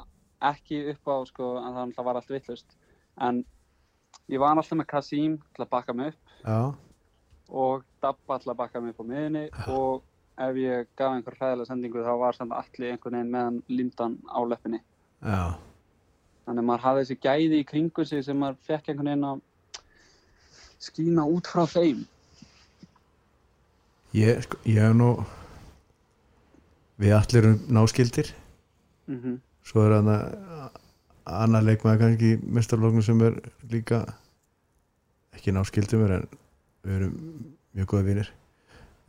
ekki upp á sko, að það alltaf var allt vittlust en ég var alltaf með Kasim til að bakka mig upp
Já,
og Dabba til að bakka mig upp á miðinni og ef ég gaf einhver hræðilega sendingu þá var samt allir einhvern veginn meðan lindan á löppinni
já,
þannig að maður hafði þessi gæði í kringu sig sem maður fekk einhvern veginn að skína út frá þeim
ég, sko, ég hef nú við allir um náskildir
mhm
svo er hann að annar leikmaður kannski í mestarlóknum sem er líka ekki náskildum er en við erum mjög góða vinir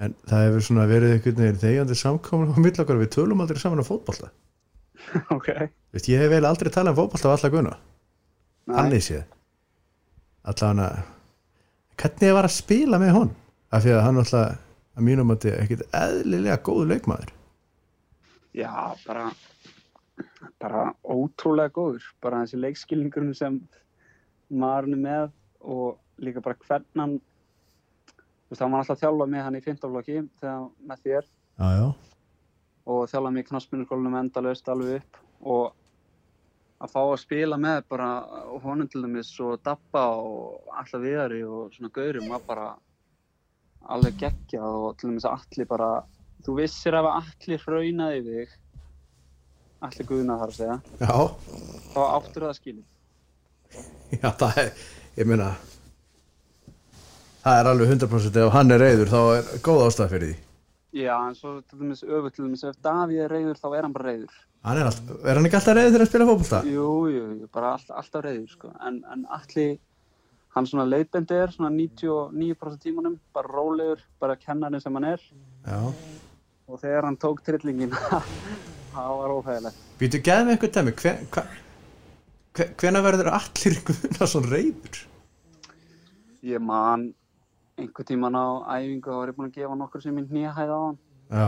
en það hefur svona verið einhvern veginn þegjandi samkomin á milli okkar við tölum aldrei saman á fótbolta
(laughs) Ok.
Vist, ég hef vel aldrei talað um fótbolta af alla guna þannig séð allan að hvernig ég var að spila með hon af því að hann alltaf að mínum að ekkert eðlilega góðu leikmaður
Já, bara, bara ótrúlega góður. Bara þessi leikskilningurinn sem maðurinn er með og líka bara hvernig hann, þú veist, hann var alltaf að þjálfa með hann í 15 flokki þegar með þér
já, já.
og þjálfa mig í knassmyndarskólanum endalaust alveg upp og að fá að spila með bara honum til dæmis og Dabba og alltaf viðari og svona gaurum var bara alveg geggjað og til dæmis allir bara þú vissir ef allir raunaði þig allir guðna þar að segja
já,
þá áttur það skilin
Já, það er, ég meina það er alveg 100% ef hann er reyður þá er góð ástæð fyrir því
Já, en svo til dæmis öfugt til dæmis ef Davíð er reyður þá er hann bara reyður.
Hann er, alltaf, er hann ekki alltaf reyðið þegar að spila fótbolta?
Jú, jú, jú, bara all, alltaf reyður sko. En, en allir, hann svona leitbendi er svona 99% tímanum, bara rólegur, bara kennarinn sem hann er.
Já.
Og þegar hann tók trillingin, (laughs) það var óþægilegt.
Býtu, geð mig eitthvað dæmi, hven, hva, hven, hvena verður allir Guðnarsson reyður?
Ég man einhver tíman á æfingu, þá var ég búinn að gefa nokkur sem minn nýjahæð á hann.
Já.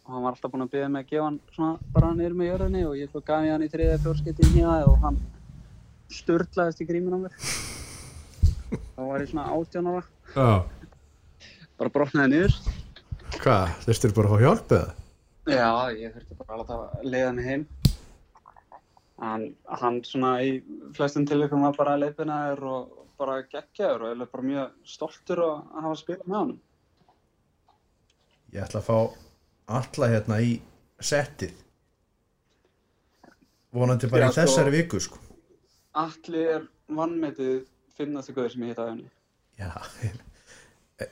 og hann var alltaf búinn að byggja mig að gefa hann svona bara niður með jörðinni og ég svo gaf ég hann í þriðja fjórskipti í nýjaði og hann sturlaðist í grímin á mér þá var ég svona 18 ára
Já.
bara brotnaði niður
Hvað, þurftur bara að fá hjálp eða?
já, ég þurfti bara að láta leiða mig heim en hann svona í flestum tilvægum var bara leifinaður og bara geggjaður og ég er bara mjög stoltur að að hafa spilað með hann
Ég ætla að fá alla hérna í settið. Vonandi bara
Já,
í
sko.
þessari viku, sko.
Alli er vannmetið finnastu guður sem ég hitt á henni
Já. (laughs)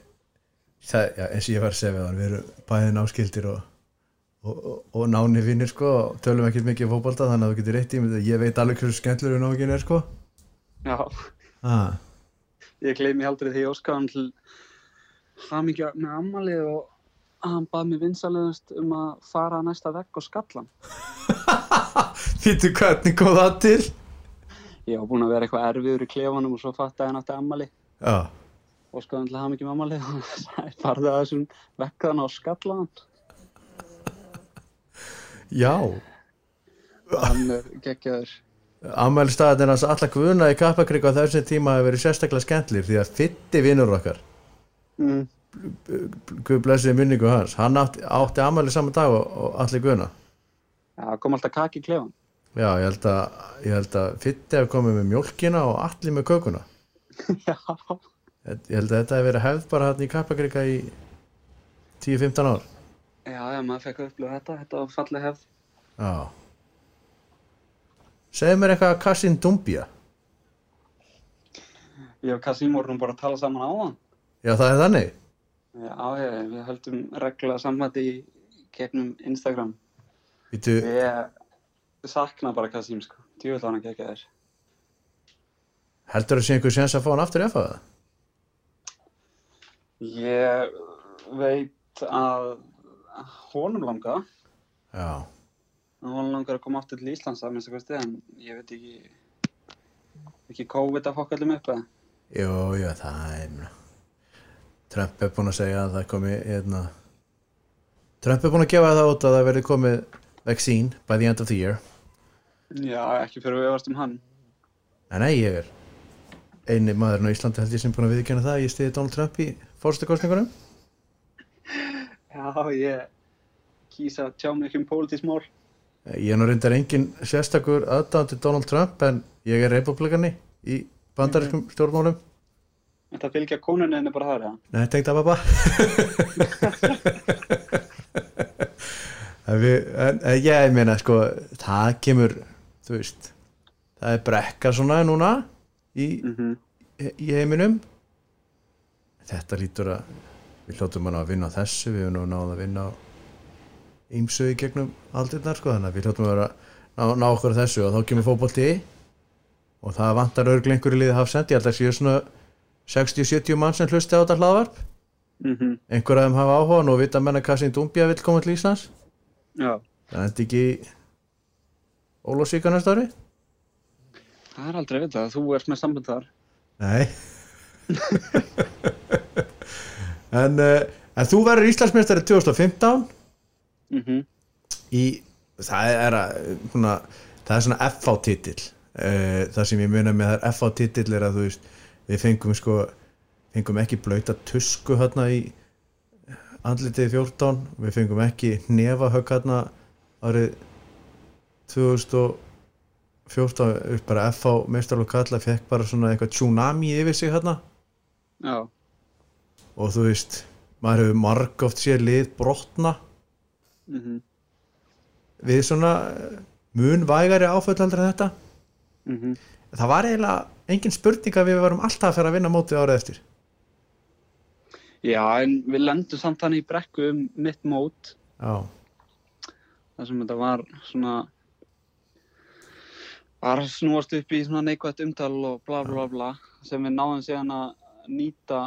Það, já, eins og ég var að segja við hann, við erum bæðið náskildir og, og, og, og náni vinnir, sko, og tölum ekkert mikið um fótbolta, þannig að þú getur rétt í mig, ég veit alveg hversu skemmtlur við náðum er, sko.
já
Ah.
Ég gleymi aldrei því ég óskaði hann til hamingja með ammalið og hann bað mér vinsaleðast um að fara að næsta vegg og skalla hann.
Fýttu hvernig kom það til?
Ég var búinn að vera eitthvað erfiður í klefanum og svo fattaði hann átti ammali.
Já.
Óskaði hann til hamingja með (laughs) ammalið og hann sagði farðu að þessum veggðan og skalla hann.
Já.
Hann er geggjaður.
Amæli staðin hans alla guðuna í Kappakrik á þessum tíma hefur verið sérstaklega skemmtlir því að fytti vinnur okkar,
Mm.
guð blessiði minningu hans, hann átti, átti amæli saman dag og, og allir guðuna.
Já, kom alltaf kaki í klefan.
Já, ég held að, ég held að fytti hefur komið með mjólkina og allir með kökuna.
(laughs) Já,
Ég held að þetta hefur verið hefð bara hann í Kappakrika í 10-15 ár.
já, já, maður fekk að upplifa þetta. Þetta var fallið hefð.
Já. Segðu mér eitthvað að Kassin Dumbia.
Ég og Kasim vorum bara að tala saman á hann.
Já, það er þannig.
Já, já, við höldum reglulega samvætti í gegnum Instagram.
Vítu,
Ég sakna bara Kasim sko, djúvill hann ekki ekki þér.
heldur það sé einhver séns að fá hann aftur í FA?
Ég veit að honum langa,
Já.
honum langar að koma aftur til Íslands að minnst að kosti, en ég veit ekki, ekki COVID að fokk allum upp eða.
Jú, jú, það er meina. Trump er búinn að segja að það komi hérna, Trump er búinn að gefa það út að það verði komið vaccine by the end of the year
Já, ekki fyrir við varst um hann.
en nei, ég er eini maðurinn á Íslandi held ég sem er búinn að viðkjöna það ég stiði Donald Trump í fórstakostningunum
Já, ég kýsa að tjá mig ekki um pólitísk mál.
ég er nú reyndar engin sérstakur aðdáðandi Donald Trump en ég er republikani í bandariskum stjórnmálum
Þetta fylgja konunni henni bara þar,
Nei, tengd að pappa en, við, en, en ég meina sko það kemur, þú veist það er brekka svona núna í,
já. Mhm.
í heiminum þetta lítur að við hljóttum að ná að vinna á þessu við höfum nú náð að vinna á ýmsu í gegnum aldirnar sko þannig að við hljóttum að vera ná, ná okkur að þessu og þá kemur fótbolti og það vantar örgl einhverju liði hafsend ég held að séu svona 60-70 mann sem hlusti á þetta hlaðvarp
Mhm.
einhver af þeim hafa áhuga nú vita menna hvað sem Dumbia vill koma til Íslands
Já.
það er þetta ekki Ólásíka næsta ári?
Það er aldrei við það, þú ert með sambund þar.
Nei (laughs) en, uh, en þú verður Íslandsmeistari 2015
Mhm.
í það er, að, svona, það er svona FH titill uh, það sem ég muna með það er FH titill er að þú veist við fengum sko fengum ekki blauta tusku hérna í andlitið í 14 við fengum ekki nefahögg hérna árið 2014 bara FH meistarlokk kalla fekk bara svona eitthvað tsunami yfir sig hérna
Já.
og þú veist maður hefur marg oft séð lið brotna
Mhm.
við svona eh, mun vægari áföll heldur en þetta
Mhm.
það var eiginlega engin spurning að við varum alltaf að fara að vinna mótið árið eftir
Já, en við lendum samt þannig í brekku um mitt mót
Já,
þar sem þetta var svona var að snúast upp í svona neikvægt umtal og bla bla bla sem við náðum síðan að nýta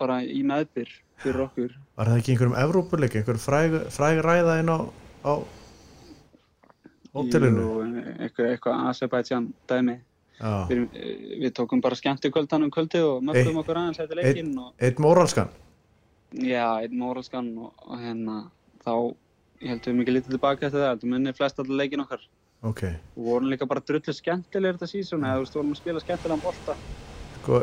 bara í meðbyr fyrir okkur
var það ekki einhverjum Evrópuleik, einhver fræg, fræg ræða inn á, á hótelinu?
Jú, eitthvað, eitthvað Azerbaijan dæmi
Já,
við, við tókum bara skemmt í kvöldan um kvöldið og mökkum
Eitt-
okkur aðeins eftir leikinn og
eitt móralskan?
já, einn moralskan og, og hérna þá ég held við mikið lítið tilbaka eftir það, ég held við minni flest allir leikinn okkar
Ok,
og vorum líka bara drullu skemmtilegir þetta sísón eða þú veist, vorum að spila skemmtilegan bolta
sko,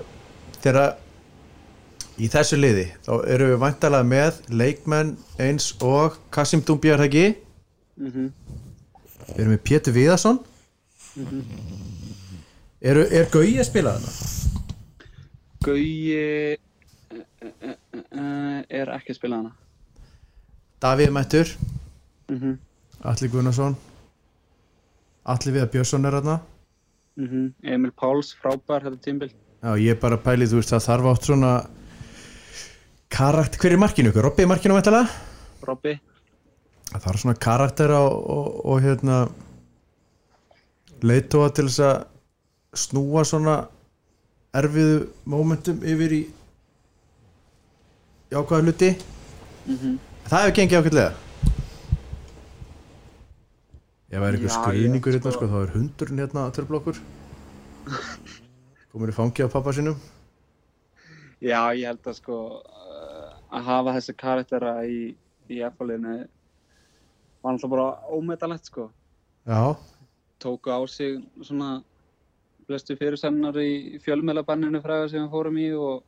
þegar í þessu liði, þá eru við vantalega með leikmenn eins og Kassim Dumbjar Hagi,
mm
Mhm. við erum með Pétur Viðarsson, eru, er Gauji að spila þarna?
Gauji eh, eh, eh, eh, er ekki að spila hana
Davíð Mættur,
mm -hmm.
Atli Gunnarsson, Atli Viðar Björnsson er þarna.
Emil Páls, frábær þetta tímbil
Já, ég er bara að pæli, þú veist, það þarf átt svona karakter, hver er markinu ykkur? Robbi er markinu mættalega?
Robby
Það þarf svona karakter og, og, og hérna leitóa til þess að snúa svona erfiðu mómentum yfir í jákvæða hluti
Mhm.
Það hefur gengið ákveðlega Ef það er einhver
Já,
skruðningur
ég-
hérna, sko, þá er hundurinn hérna að törflokkur komin í fangi á pappa sínum
Já, ég held að sko uh, að hafa þessi karaktera í, í F-liðinu var alltaf bara ómetalegt sko.
Já,
Tóku á sig svona flestu fyrirsennar í fjölmiðlabanninu fræða sem við fórum í og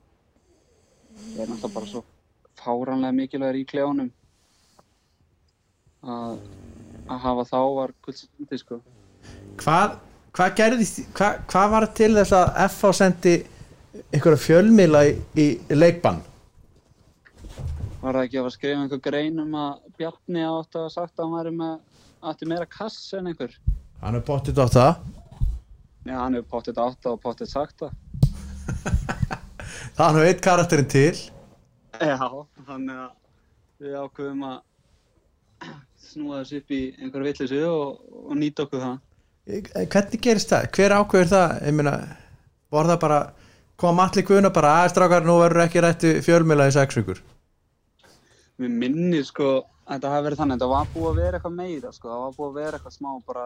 það er alltaf bara svo fáranlega mikilvægir í klefunum að, að hafa þá var gullstundi sko.
hvað hvað gerðist, hvað, hvað var til þess að FH sendi einhverja fjölmiðla í, í leikbann
Var það ekki að fara að skrifa einhver grein um að Bjarni átti að hafa sagt að hann væri með átti meira kass en einhver.
hann er bóttið á það
Já, hann hefur pottet átta og pottet sakta.
það hann hefur eitt karakterinn til
Já, þannig að við ákveðum að snúa þessu upp í einhverja vitleysu og, og nýta okkur það.
Eh, hvernig gerist það, hver ákveður það ég meina, var það bara kom allir guðuna bara að strákar nú verður ekki rættu fjölmiðla í sex vikur
Mér minnir sko að þetta hafi verið þannig, þetta var búið að vera eitthvað meira sko, það var búið að vera eitthvað smá bara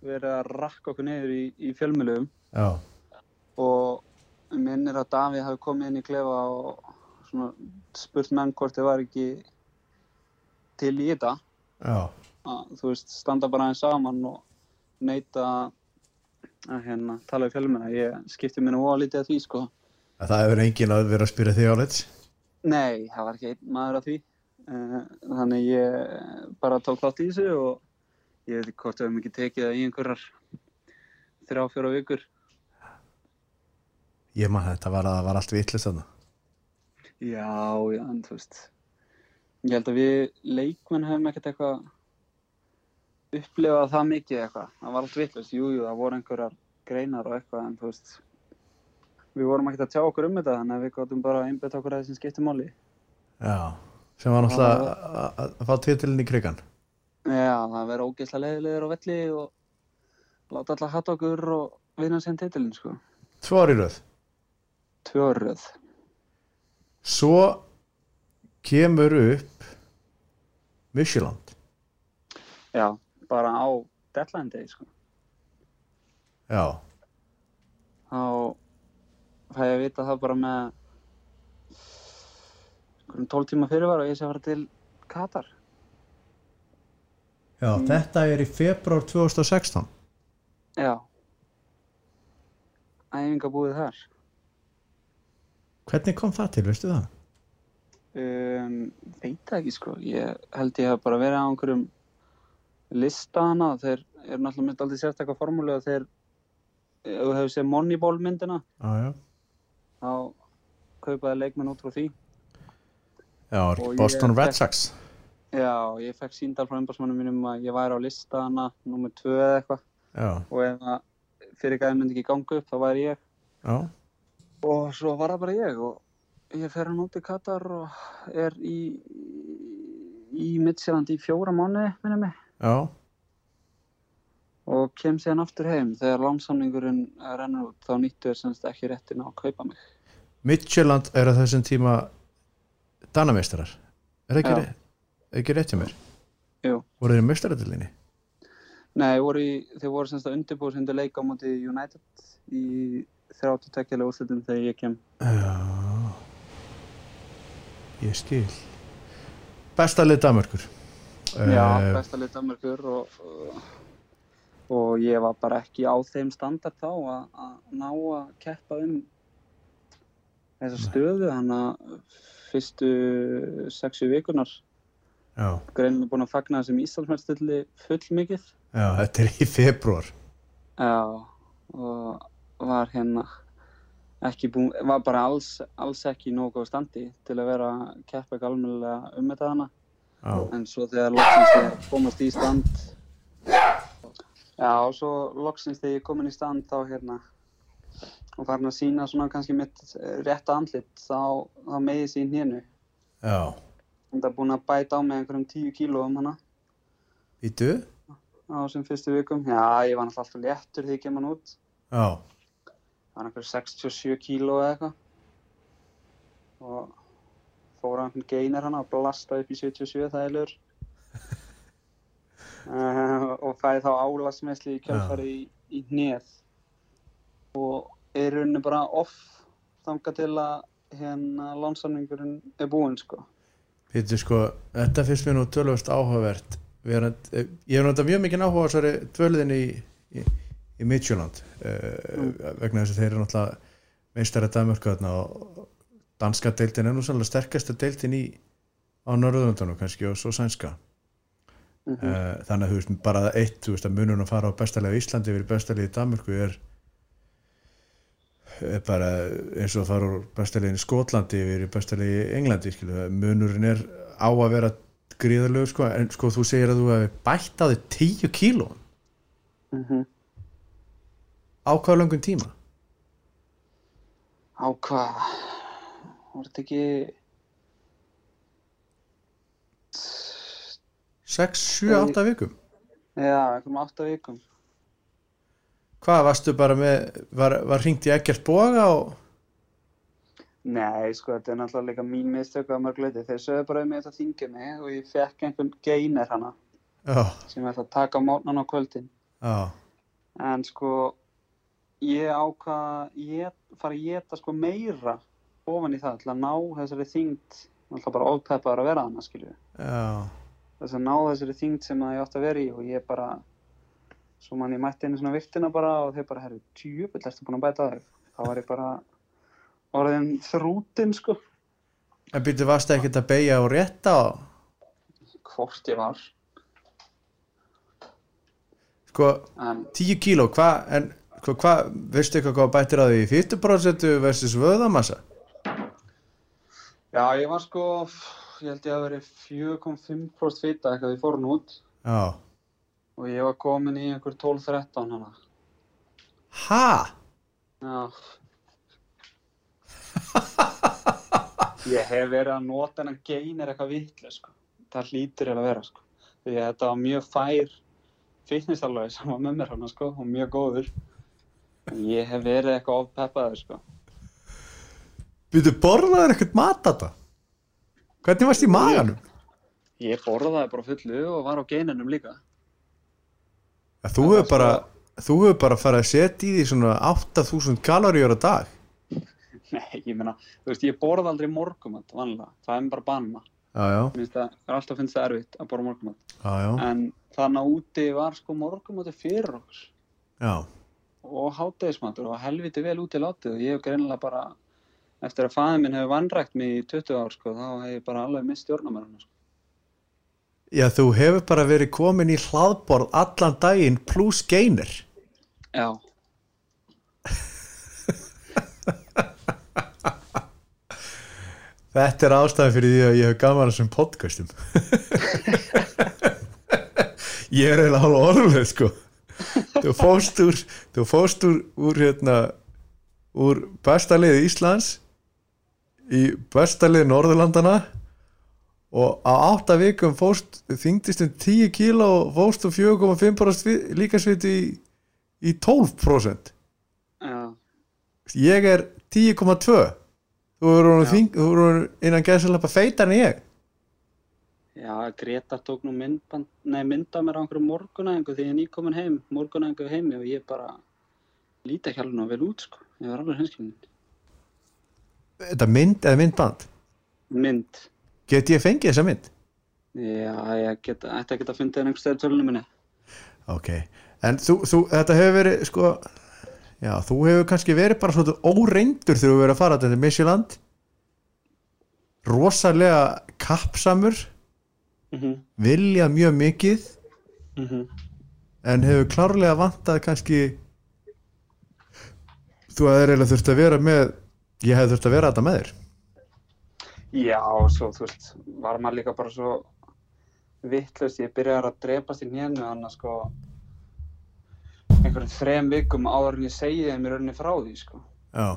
verið að rakka okkur niður í, í fjölmjölum
já,
og mér minnir að Davíð hafi komið inn í klefa og svona spurt menn hvort þið var ekki til í þetta.
já,
að þú veist, standa bara aðeins saman og neyta að hérna, tala við fjölmina ég skipti mér nú á lítið að því sko
það hefur enginn að vera að spyrja þig á leitt
nei, það var ekki einn maður að því Eh, þannig ég bara tók þátt í þessu og ég veit ekki hvort við hefum ekki tekið það í einhverjar þrjá, fjóra vikur
ég maður þetta var að það var allt vitlust þarna
já, já, en þú veist ég held að við leikmenn hefum ekkert eitthvað upplifað það mikið eitthvað það var allt vittlust, jú, jú, það voru einhverjar greinar og eitthvað, en þú veist við vorum ekkert að tjá okkur um þetta þannig að við gáttum bara að einbetta okkur að þessum skiptumáli
já, sem var náttúrulega að- að- að fá titilin í krigan
já, það verður ógeðslega leiðilegur á velli og láta alltaf hatt okkur og vinna sem titilin, sko
tvo ári röð
tvöröð
Svo kemur upp Micheland
já, bara á deadline day, sko
Já,
þá fæ ég að vita það bara með einhverjum 12 tíma fyrirvara og ég sé að fara til Katar
Já þetta er í februar 2016
já æfingabúið þar
Hvernig kom það til, veistu það?
um, veit það ekki sko ég held ég hef bara verið á einhverjum lista hana þeir eru náttúrulega mynd aldrei sérstakka formúlu og þeir ef þú hefur séð Moneyball myndina
Já, já
þá kaupaði leikmenn út frá því
Já, er
Og
ekki
ég-
Boston Red Sox
já, ég fekk síndal frá umbásmannum mínum að ég væri á lista hana nummer 2 eða eitthvað
Já,
og ef að fyrir gæðin myndi ekki ganga upp þá væri ég
já
og svo var það bara ég og ég fer hann út í Katar og er í í Midtjylland í fjóra mánuði minna mig
já,
og kem síðan aftur heim þegar lánsamningurinn rennur út þá nýttu er semst ekki réttin á að kaupa mig
Midtjylland er á þessum tíma Danameistarar er ekki,
Já.
ré- er ekki rétt hjá mér
Jú.
voru þeir í meistaratillinni
Nei, voru í, þeir voru semst að undirbúið sem þeir leika á móti United í 32 lega úrslutum þegar ég kem
já ég skil besta lið Danmörkur
Já,
Eh,
besta lið Danmarkur og, og ég var bara ekki á þeim standard þá að, að ná að keppa um þessa stöðu hann að fyrstu sexu vikunar
já,
greinin er búin að fagna þessum Íslandsmælstilli full mikið
já, þetta er í februar
Já, og var hérna ekki búin, var bara alls, alls ekki í nógu góð standi til að vera að keppa ekki almennilega um þetta hana
já,
En svo þegar loksins þegar ég komast í stand Já, og svo loksins þegar ég er komin í stand þá hérna og farin að sína svona kannski mitt eh, rétta andlit þá, þá megi sín hérnu
já,
Þetta er búin að bæta á mig einhverjum 10 kílóum hana
vítu
á þessum fyrstu vikum Já, ég var náttúrulega alltaf léttur þegar ég kem hann út
já,
Það var einhverjum 67 kíló eða eitthvað og fór á einhvern geinar hana og blasta upp í 77 þælur uh, og fæði þá álasmessli í kjálfari í, í hnið og er rauninni bara off þanga til að hérna lánsamningurinn er búinn sko
Pétur sko, þetta finnst mér nú tölvöst áhugavert Við erum, eh, ég hef náttúrulega mjög mikið áhuga á þessari tvöliðin í, í, í Midtjöland uh, vegna þess að þeir eru náttúrulega meistara Danmörku þarna og danska deildin er nú sannlega sterkasta deildin í á Norðurlandunum kannski og svo sænska mm
Mhm.
þannig að þú veist bara það eitt, þú veist að munun að fara á bestalegi í Íslandi yfir bestalegi í Danmörku er, er bara eins og að fara úr bestalegi í Skotlandi yfir í bestalegi í Englandi skilu, það- munurinn er á að vera gríðarlegu sko, en sko þú segir að þú hefði bætt að þið 10 kíló
mm -hmm.
á hvað löngum tíma?
á hvað voru þetta ekki
6, 7, 8 vikum?
já, einhverjum átta vikum
Hvað varstu bara með, var, var hringt í ekkert boga og
Nei, sko, þetta er náttúrulega líka mín mistök að mörg leiti. Þeir sögðu bara um þetta þingið mig og ég fekk einhvern geiner hana
já,
sem ég ætla að taka á mótnan á kvöldin.
já,
En sko, ég ákvað ég, fara að geta sko meira ofan í það til að ná þessari þyngd, náttúrulega bara ofpeppaður að vera hana, skilju.
já
Þess að ná þessari þyngd sem að ég átt að vera í og ég bara, svo mann ég mætti einu svona viktina bara og þeir bara, herru, tjúfull, ertu búin að bæta þau? Þá var ég bara orðin þrútin, sko,
En byrju, varstu ekkert að beigja og rétta og
hvort ég var.
sko,
En
10 kíló, hvað, en sko, hvað, veistu eitthvað hvað bættir að því 40% versus vöðamassa?
Já, ég var sko, ég held ég að verið 4,5% fita eitthvað við fórun út
Já.
og ég var komin í einhver 12-13 hana.
Ha?
Já. ég hef verið að nota hennan geinir eitthvað vitlega, sko. Það hlýtur eiginlega að vera, sko. Því að þetta var mjög fær fitnessalagi sem var með mér hana, sko, og mjög góður. En Ég hef verið eitthvað ofpeppaður, sko.
Byrju, borðaður ekkert mat þetta? Hvernig varst í maganum?
Ég borðaði bara á fullu og var á geininum líka.
Ja, þú hefur bara, þú hefur bara farið að setja í því svona 8000 kaloríur á dag.
(laughs) Nei, ég meina, þú veist, ég borða aldrei morgumat vanlega, það er mér bara banna.
Já, já,
Mér finnst það, ég er alltaf finnst það erfitt að borða morgumat.
já, já,
En þannig að úti var sko morgumati fyrir okkur
já.
og hátegismatur og helviti vel úti látið og ég hef greinilega bara, eftir að fæðin minn hefur vannrækt mig í 20 ár sko, þá hef ég bara alveg mist stjórnumæruna sko.
Já, þú hefur bara verið komin í hlaðborð allan daginn pluss geinir.
Já.
Þetta er ástæðan fyrir því að ég hef gaman að þessum podcastum. ég er eiginlega hálfa orðuleg, sko. Þú fóst úr, þú fóst úr, úr, hérna, úr besta liði Íslands í bestalið Norðurlandana og á átta vikum fóst, þyngdist um 10 kíla og fóst um 4,5% líkasviti í, í 12%
já,
ég er 10,2 þú eru
Já.
þyng, þú eru innan gæðsalappa feitar en ég
já, Greta tók nú myndband, nei, mynda mér á einhverju morgunæðingu því ég er nýkomin heim, morgunæðingu heimi og ég bara líti ekki alveg ná vel út, sko, ég var alveg henskilin.
þetta mynd eða myndband
Mynd,
get ég fengið þessa mynd?
já, ég get, ætti að geta fundið hann einhver stöður tölunum minni.
ok, en þú, þú þetta hefur verið sko já, þú hefur kannski verið bara svona óreindur þegar þú verið að fara þetta Micheland rosalega kappsamur
Mhm,
vilja mjög mikið
mhm,
en hefur klárlega vantað kannski þú hefur eiginlega þurft að vera með ég hefði þurft að vera þetta með þér
Já, og svo þú veist, var maður líka bara svo vittlust, ég byrjaði að drepast í nérnu þannig að sko einhverjum þrem vikum áður en ég segi þeim í rauninni frá því sko
já,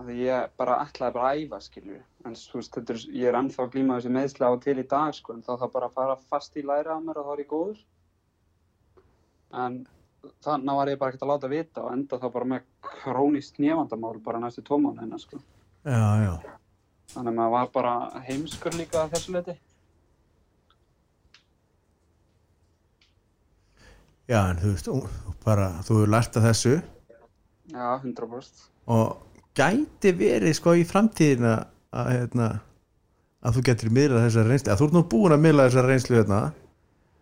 af því ég bara ætlaði bara að æfa skilju en þú veist, þetta er, ég er ennþá að glíma þessi meðsla á og til í dag sko en þá þá bara að fara fast í læra á mér og þá er ég góður en þannig var ég bara ekkert að láta vita og enda þá bara með krónist nefandamál bara næstu tómána hennar sko
já, já
Þannig að maður var bara heimskur líka að þessu leiti.
já, en þú veist, ú, bara þú hefur lært að þessu
Já, 100%.
og gæti verið sko í framtíðina að, hérna, að þú getur miðlað þessar reynslu að þú ert nú búin að miðla þessar reynslu hérna,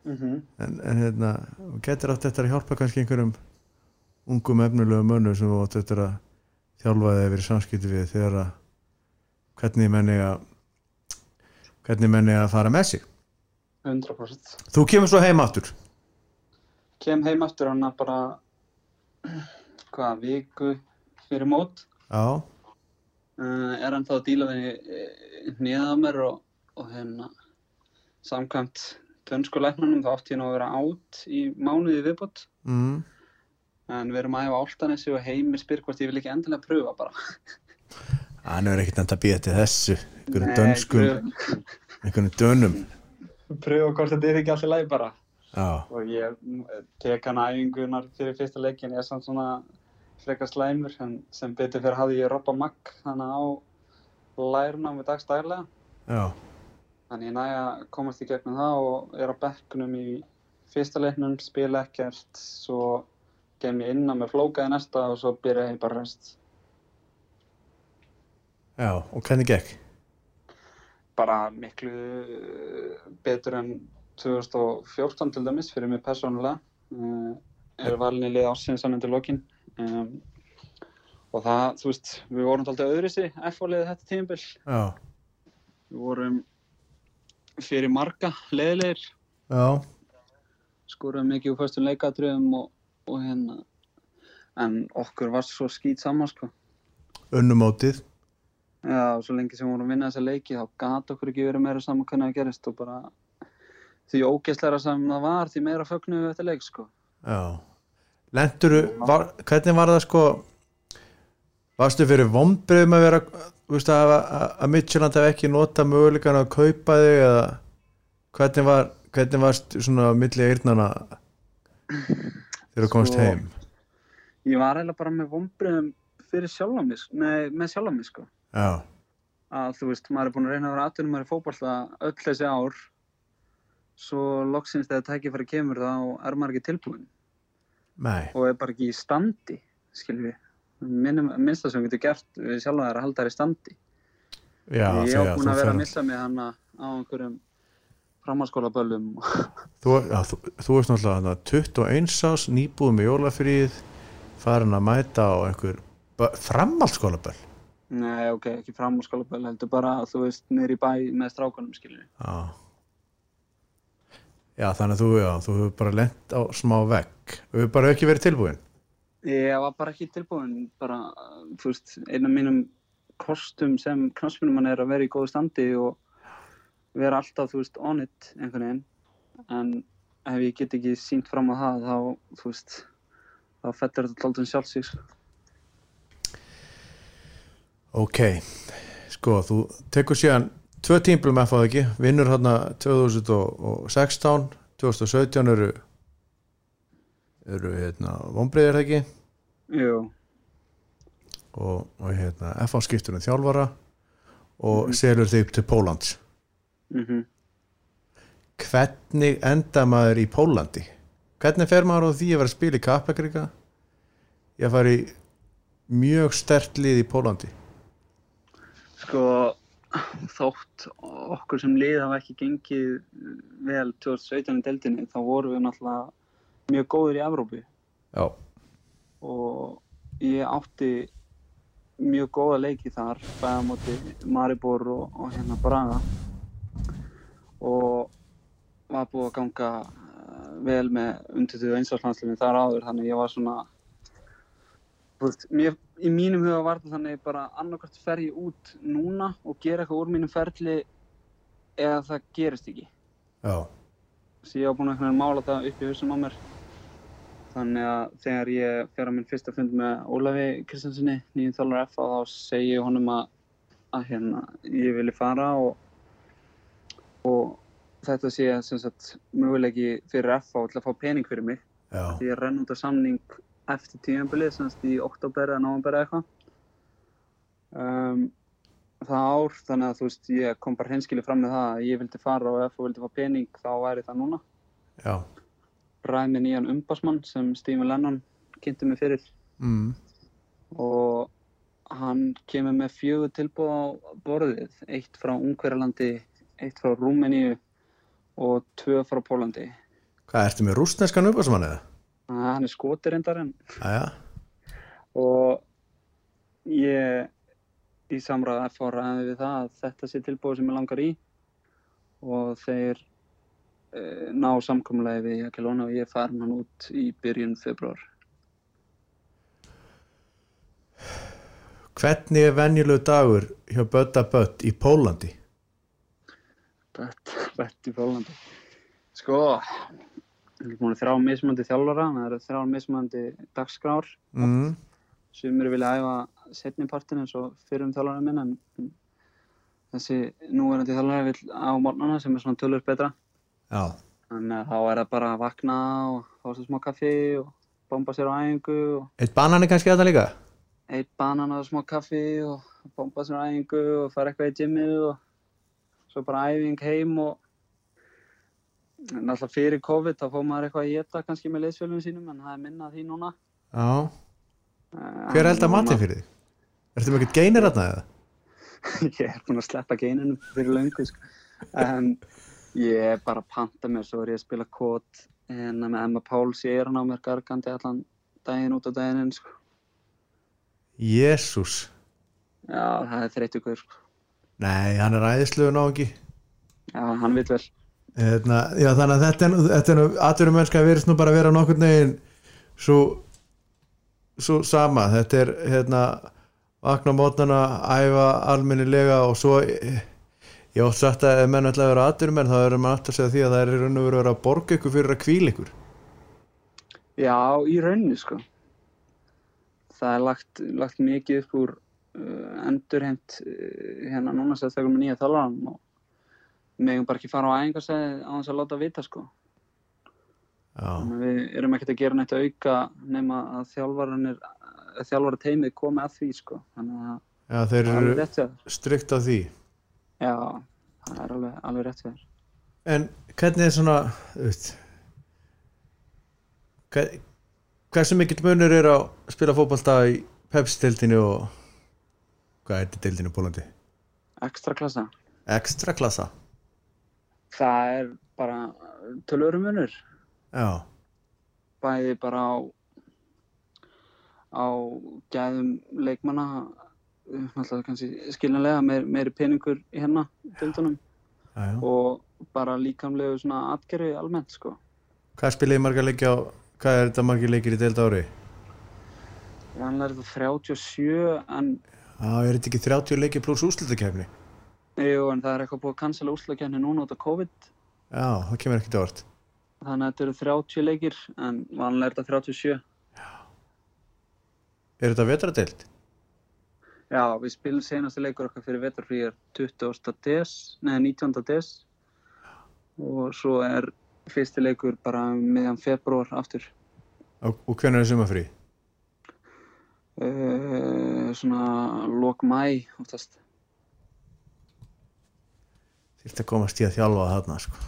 Mm
en, en hérna, þú getur átt þetta að hjálpa kannski einhverjum ungum efnulegum mönnum sem þú átt þetta að þjálfa þig yfir í samskipti við þegar að hvernig menni að hvernig menni að fara með sig
100%.
þú kemur svo heim aftur
Kem heim aftur hann bara, (clears throat) hvað, viku fyrir mót.
já,
Uh, er hann þá að díla við nýðað á mér og, og hérna, samkvæmt dönsku læknunum þá átti ég nú að vera átt í mánuði viðbútt.
mm.
En við erum að hefa áltanessi og heimir spyr hvort ég vil ekki endilega pröfa bara.
hann er ekkert nefnt að býja til þessu einhverjum
Nei,
dönskum, einhverjum dönum
pröfa- Pröfa hvort þetta er ekki allir læg bara.
já,
og ég mm, tek hann æfingunar fyrir fyrsta leikin ég er samt svona frekar slæmur en sem betur fyrir hafði ég robba makk þannig á læruna með dagstæðlega
já,
þannig ég næja komast í gegnum það og er á bekkunum í fyrsta leiknum spila ekkert svo kem ég innan með flókaði næsta og svo byrja ég bara rest
já, og hvernig gekk
bara miklu eh, betur en 2014 til dæmis fyrir mig persónulega uh, er valin í lið ársins hann undir lokin um, og það, þú veist, við vorum alltaf öðrisi F-liðið þetta tímabil
já,
við vorum fyrir marga leiðilegir
já
skorum mikið úr föstum leikatröðum og, og hérna en okkur var svo skýt saman sko
unnumótið
Já, og svo lengi sem við vorum að vinna þessa leiki þá gat okkur ekki verið meira saman hvernig það gerist og bara því ógeðslega sem það var, því meira fögnuðu við þetta leik, sko.
já lenduru, var, hvernig var það sko varstu fyrir vombriðum að vera þú veist, að, að, að Midtjöland hef ekki nota möguleikana að kaupa þig eða hvernig var hvernig varst svona á milli eirnana þegar þú komst
Sko-
heim
Ég var eiginlega bara með vombriðum fyrir sjálfa mig, sk- nei, með sjálfa mig, sko.
já,
Að þú veist, maður er búin að reyna að vera aðtunum maður í fótballta öll þessi ár svo loksins þegar tækifæri kemur þá er maður ekki tilbúin
nei,
og er bara ekki í standi, skiljum við. Minnum, minnsta sem við getum gert við sjálfa er að halda þær í standi.
já
ég
þegar
á búin að vera að
ferð-
missa mig hann á einhverjum framhanskólaböllum
þú, já, þú, þú veist náttúrulega þarna 21 ás nýbúð með jólafríð farin að mæta á einhver framhaldsskólaböll
(laughs) Nei, ok, ekki framhanskólaböll heldur bara, þú veist, niður í bæ með strákunum skilur
Já. Já, þannig að þú, já, þú hefur bara lent á smá vegg. Þú hefur bara ekki verið tilbúin.
Ég var bara ekki tilbúin bara, þú veist, einu af mínum kostum sem knaspunumann er að vera í góðu standi og vera alltaf, þú veist, on it einhvern veginn en ef ég get ekki sínt fram á það þá, þú veist, þá um fettur þetta alltaf sjálfsík sko.
Ok, Sko, þú tekur síðan tvö tímbil með það ekki, vinnur hérna 2016 2017 eru eru hérna vonbreiðir ekki
Jú,
og, og hérna FH skiptur um þjálfara og selur þig til Pólans
mhm
hvernig enda maður í Pólandi hvernig fer maður á því að vera að spila í Kaplakrika ég fari mjög stert lið í Pólandi
Sko, þótt okkur sem lið hafa ekki gengið vel 2017 í deildinni, þá vorum við náttúrulega mjög góður í Evrópu
já,
og ég átti mjög góða leiki þar, bæða móti Maribor og, og hérna Braga og var búið að ganga eh, vel með undirtöðu einsvarslandslinni þar áður, þannig ég var svona þú veist, mér, í mínum huga var það þannig bara annarkvæmt fer ég út núna og gera eitthvað úr mínum ferli eða það gerist ekki
já,
sem ég var búinn að einhvern veginn mála það upp í hausum á mér. Þannig að þegar ég fer á minn fyrsta fund með Ólafi Kristjánssoni, nýjum þjálfur F, þá segi ég honum að, að hérna, ég vilji fara og, og þetta sé sem sagt möguleiki fyrir F til að fá pening fyrir mig.
já,
Því ég renn út af samning eftir tímanbilið, sem sagt í oktober eða november eða eitthvað. Um, það ár, þannig að þú veist, ég kom bara hinskili fram með það að ég vildi fara og ef þú vildi fá pening þá væri það núna
já
ræði með nýjan umbásmann sem Stephen Lennon kynnti mig fyrir
mm.
og hann kemur með fjögur tilbúð á borðið, eitt frá Ungverjalandi, eitt frá Rúmeníu og tvö frá Pólandi.
hvað ertu með rústneskan uppásmann eða?
Þannig að Hann er skotirindarinn
aðja,
og ég í samræða FH ræði við það að þetta sé tilbúð sem ég langar í og þeir e, ná samkomlega við Jakilona og ég fær hann út í byrjun februar.
hvernig er venjulegu dagur hjá Bötta Bött í Pólandi?
Bett, (laughs) bett í Pólandi. Sko, við erum búin að þrá mismandi þjálfara, það eru þrá mismandi dagskrár.
Mm.
Sumir vilja æfa setni partin eins og fyrrum þjálfara minn, en þessi núverandi þjálfara vil á morgnana sem er svona tölur betra.
já,
Þannig að þá er það bara að vakna og fá sér smá kaffi og bomba sér á æfingu og
eitt banani kannski þetta líka?
eitt banan og smá kaffi og bomba sér á æfingu og fara eitthvað í gymmið og svo bara æfing heim og en náttúrulega fyrir COVID þá fór maður eitthvað að geta kannski með leysfjölum sínum en það er minna af því núna
já, hver held að mati fyrir þig? ertu með eitthvað geinir þarna eða?
(laughs) ég er búinn að sleppa geininu fyrir löngu sko. en ég er bara að panta mér svo er ég að spila kót en með Emma Páls ég er hann á mér gargandi allan daginn út á daginn sko.
Jésús,
já það er þreytt ykkur sko.
nei hann er æðislegu náðungi
já hann vil vel
Hérna, já, þannig að þetta er, nú- þetta er aðveru mennska verðist nú bara að vera nokkurn veginn svo, svo sama þetta er hérna vakna á mótnana, æfa almennilega og svo eh, ég átt sagt að ef menn ætla að vera aðveru menn þá erum maður aftur að segja því að það er í raun og veru að vera að borga ykkur fyrir að kvíla ykkur
Já, í rauninni sko. Það er lagt, lagt mikið upp úr uh, endurheimt uh, hérna núna sem þegar með nýja þjálfaranum og við megum bara ekki fara á æfingarsæði á þess að láta vita sko.
já,
Þannig að Við erum ekkert að gera neitt auka nema að þjálfaranir, að þjálfara teimið komi að því sko. Þannig að
já þeir
það er
eru
alveg rétt hjá þér.
strikt á því
Já, það er alveg, alveg rétt hjá þér.
en hvernig er svona þú veist hver- hversu mikill munur er að spila fótballta í Pepsi-deildinu og hvað er þetta deildinu í Pólandi?
Ekstra klassa.
Ekstra klassa
Það er bara tölurumunur.
já,
bæði bara á á gæðum leikmanna eh, náttúrulega kannski skiljanlega meir, meiri peningur í hérna
já,
dildunum
já.
og bara líkamlegu svona atgerfi almennt sko
hvað spilaði margar leikja á hvað er þetta margar leikir í deild á ári?
vanlega er það 37 en,
já, er þetta ekki 30 leiki pluss úslutakefni?
jú, en það er eitthvað búið að cancela úrslagjarni núna út af COVID
já, það kemur ekkert á orð
þannig að þetta eru 30 leikir en vanlega er það 37
er þetta vetradeild?
Já, við spilum senastu leikur okkar fyrir vetarfrí er 20. des, neða 19. des og svo er fyrsti leikur bara meðan februar aftur.
Og, og hvernig er sumafrí?
Uh, svona lok mæ oftast.
Þýrt að komast í að þjálfa þarna sko.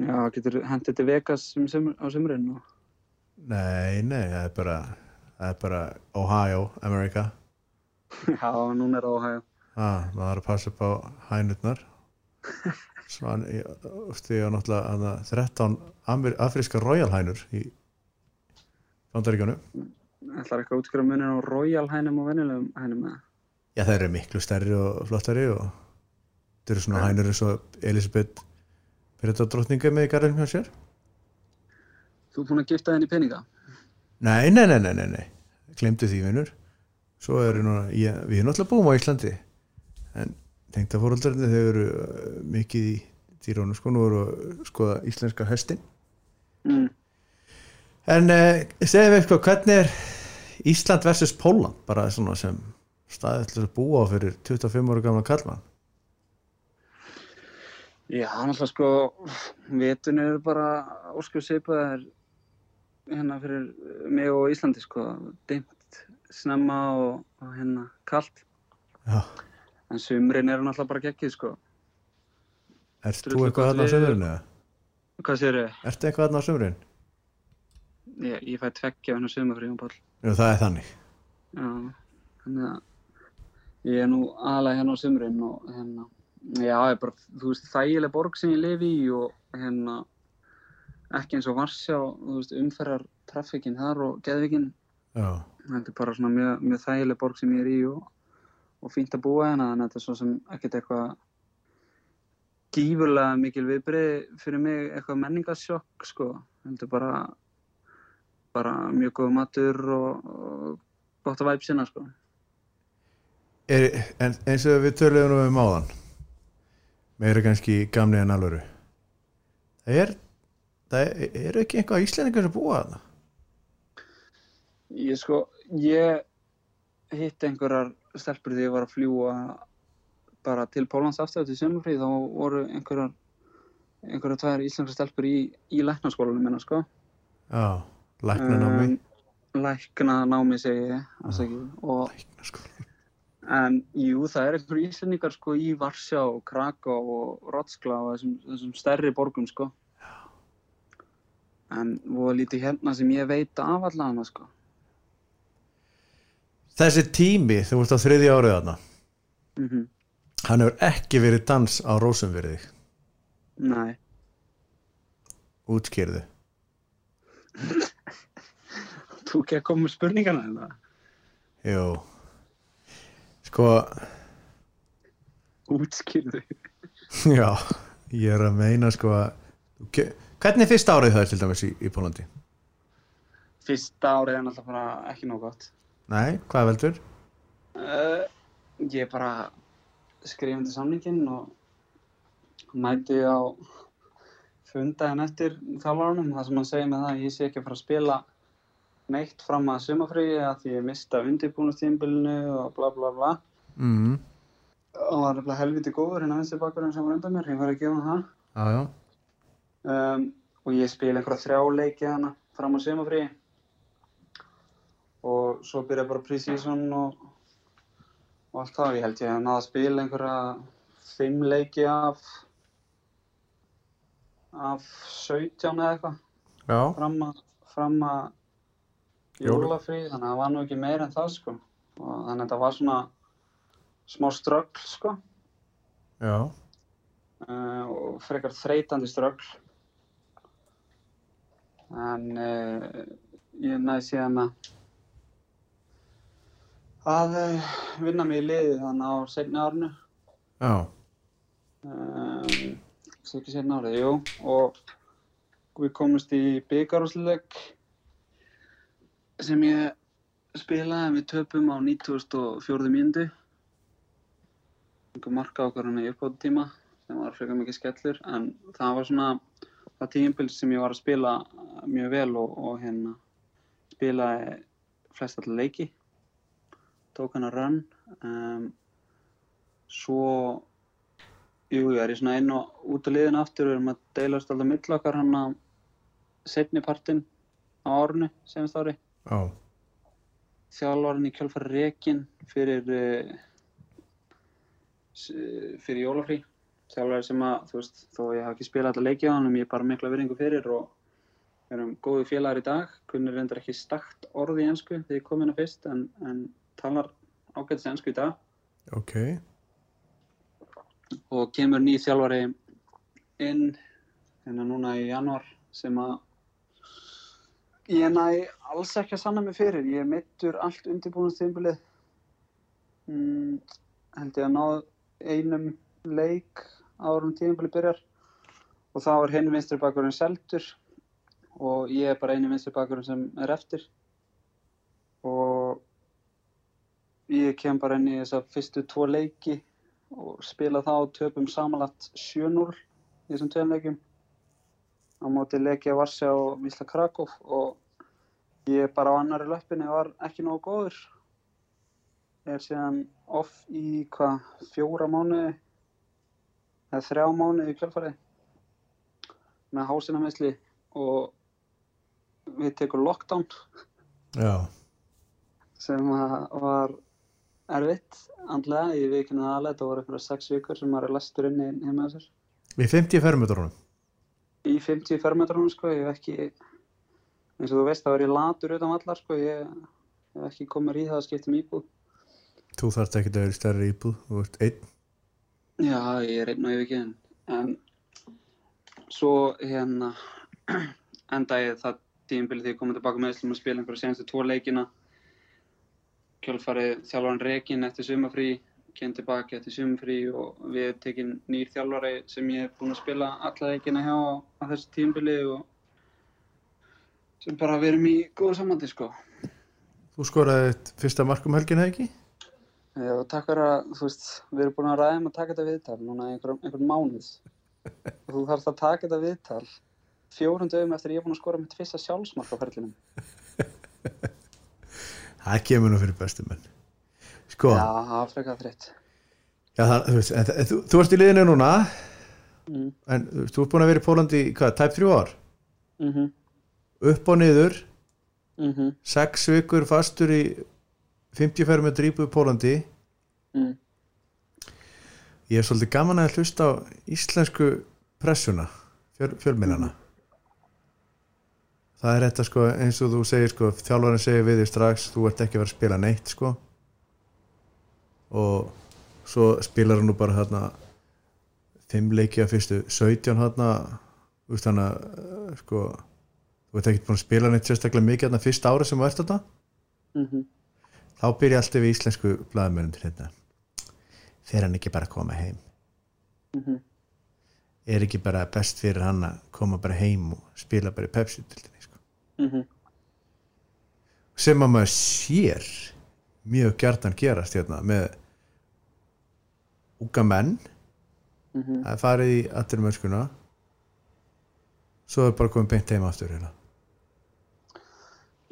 Já, getur hendið til Vegas um sumar, á sumurinn og
Nei, nei, það er bara, það er bara Ohio, America.
(laughs) já, núna er óhæg.
Ah, maður þarf að passa upp á hænutnar. Svo hann, ég, ústu, ég var náttúrulega hana, 13 amer, afríska royal hænur í bandaríkjónu.
Ætlar eitthvað að útskjöra munin á Royal hænum og venjulegum hænum eða?
Já, þeir eru miklu stærri og flottari og þeir eru svona hænur eins og Elisabeth Breitadrottninga með í garðinum hjá sér.
Þú er búinn að gifta þenni peninga?
Nei, nei, nei, nei, nei, nei. Glemdu því vinnur. Svo eru núna, ég, við erum alltaf búum á Íslandi en tengdafóröldarinn þau eru uh, mikið í dýrónu sko, nú eru að skoða íslenska hestin.
Mm.
En uh, segðu mér sko, hvernig er Ísland versus Póland bara svona sem staðið ætlar að búa á fyrir 25 ára gamla kallmann?
Já, náttúrulega sko, vitun eru bara óskur seipaðar hérna fyrir mig og Íslandi sko, dimmt, snemma og, og hérna kalt.
Já,
En sumrin eru náttúrulega bara geggið sko.
ert
Drullu
þú eitthvað
gott
þarna á
veður.
sömurinn eða?
Hvað sér þau?
Ertu eitthvað þarna á sömurinn?
Ég, ég fæ tveggja hennar sumafri um ball.
Jú, það er þannig.
Já, þannig að ég er nú aðalega hérna á sumrin og hérna, já, ég er bara, þú veist, þægileg borg sem ég lifi í og hérna, ekki eins og Varsjá, þú veist, umferðar traffikin þar og geðvikin,
Já,
þetta er bara svona mjög, mjög þægileg borg sem ég er í og, og fínt að búa hérna, þannig að þetta er svo sem ekkert eitthvað gífurlega mikil viðbrið fyrir mig eitthvað menningarsjokk, sko, þetta er bara, bara mjög góð matur og, og gott að væp sinna, sko.
er, en eins og við töluðum nú um áðan meira kannski gamli en alvöru það er það er ekki einhvað íslendingar sem búa þarna
Ég sko, ég hitt einhverjar stelpur þegar ég var að fljúa bara til Pólans aftur til sömurfríð þá voru einhverjar einhverjar tvær íslenska stelpur í, í læknaskólanum minna sko
já, lækna námi
um, Lækna námi segi ég afsaki, og,
lækna sko
en jú það er einhverjir íslendingar sko í Varsjá og Kraká og Rotskla og þessum, þessum stærri borgum sko en voru lítið hérna sem ég veit af allan sko
þessi tími, þú veist á þriðja árið þarna
mm
hann hefur ekki verið dans á rósum fyrir þig
Nei
útskýrðu
Þú ekki að koma með spurningana hérna. þetta?
jú sko, (laughs)
Útskýrðu.
já ég er að meina sko að hvernig er fyrsta árið það er til dæmis í, í Pólandi?
Fyrsta árið er náttúrulega bara ekki nóg gott.
nei, hvað veldur?
Uh, ég bara skrif undir samninginn og mæti á fundaðin eftir þjálfarunum þar sem hann segir með það að ég sé ekki að fara að spila neitt fram að sumafríði að því ég mista undirbúnustímbilinu og bla bla bla.
mhm,
Og var nefnilega helviti góður hérna vinstri bakkurinn sem var undan mér, ég var að gefa hann það.
já, já
um, og ég spila einhverja þrjá leiki hana fram á semafríi og svo byrja bara pre-season og, og allt það ég held ég að náða að spila einhverja fimm leiki af af 17 eða eitthvað
já,
fram að fram að
Jóla.
jólafríi þannig að það var nú ekki meira en það sko og þannig að þetta var svona smá ströggl sko
já
uh, og frekar þreytandi ströggl en uh, ég næði síðan að að uh, vinna mig í liði þannig á seinni árinu
Já,
um, svo ekki seinni árið, jú og við komumst í byggarúsleik sem ég spilaði en við töpum á 94. mínútu einhver marka okkar hann hérna í uppbóttíma sem var frekar mikið skellur en það var svona það tímabil sem ég var að spila mjög vel og, og hérna spilaði flest allir leiki tók hann að run um, svo jú, ég er í svona inn og út af liðin aftur við erum að deilast alltaf mill okkar hann að setni partinn á árunni semst ári
já,
þjálfarinn í kjálfari Rekin fyrir eh, s- fyrir jólafrí þjálfari sem að, þú veist, þó ég hafa ekki spilað alltaf leikið á hann, ég er bara mikla virðingu fyrir og erum góði félagar í dag kunnir reyndar ekki stakt orð í ensku þegar ég kom hérna fyrst en, en talar ágætis ensku í dag
ok
og kemur ný þjálfari inn hérna núna í janúar sem að ég næ alls ekki að sanna mig fyrir ég er meittur allt undirbúinastýmbilið mm, held ég að náð einum leik árum tímbilið byrjar og þá er hinn vinstri bakurinn seldur og ég er bara einu vinstri bakurinn sem er eftir og ég kem bara inn í þess að fyrstu tvo leiki og spila þá töpum samanlagt 7-0 í þessum tveimleikjum á móti leikja Varsja og Vísla Krakow og ég bara á annari löppinni var ekki nógu góður er síðan off í hvað fjóra mánuði eða þrjá mánuði í kjálfarið með hásinamisli og við tekur lockdown
já,
sem að var erfitt andlega, ég viðkynna það alveg þetta voru einhverja sex vikur sem maður er lastur inn í heima þessar
við 50 fermetrunum
í 50 fermetrunum sko, ég hef ekki eins og þú veist, það var ég latur utan allar sko, ég ég hef ekki komið mér í það að skipta um íbúð
þú þarft ekki að vera í stærri íbúð þú ert einn,
já, ég er einn og yfir ekki en, en svo hérna (clears throat) enda ég það tímbilið því ég komið tilbaka með Íslam að spila einhverja senstu tvo leikina kjálfarið þjálfarinn Rekin eftir sumafrí kem tilbaka eftir sumafrí og við hef tekin nýr þjálfari sem ég hef búin að spila alla leikina hjá á, á þessu tímbili og sem bara við erum í góðu samandi sko
þú skoraði þitt fyrsta mark um helgina ekki?
Já, takk fyrir að, þú veist, við erum búin að ræða um að taka þetta viðtal núna í einhver, einhvern mánuð. Og þú þarfst að taka þetta viðtal fjórun dögum eftir ég er búin að skora mitt fyrsta sjálfsmark á ferlinum.
það kemur nú fyrir bestu menn sko,
Já, það var frekar þreytt.
Já, það, þú, veist, en, en, þú, þú ert í liðinu núna
Mm.
en þú, veist, þú ert búin að vera í Pólandi í hvað, tæp þrjú ár?
Mhm,
Upp og niður,
mhm,
sex vikur fastur í 50 fermi að drípu Pólandi
mhm.
Ég er svolítið gaman að hlusta á íslensku pressuna, fjöl, fjölminnana Það er þetta sko, eins og þú segir sko, þjálfarinn segir við þig strax, þú ert ekki að vera að spila neitt sko og svo spilar hann nú bara hérna fimm leiki að fyrstu 17 hérna úst hann að eh, sko þú ert ekki búin að spila neitt sérstaklega mikið hérna fyrst ári sem þú ert þetta
Mm -hmm.
þá byrja alltaf í íslensku blaðmörnum til þetta fer hann ekki bara að koma heim
Mhm.
er ekki bara best fyrir hann að koma bara heim og spila bara í Pepsi til þetta sko.
mhm,
sem að maður sér mjög gjartan gerast hérna með unga menn
Mhm.
það er farið í allir mörskuna svo er bara komið beint heim aftur hérna.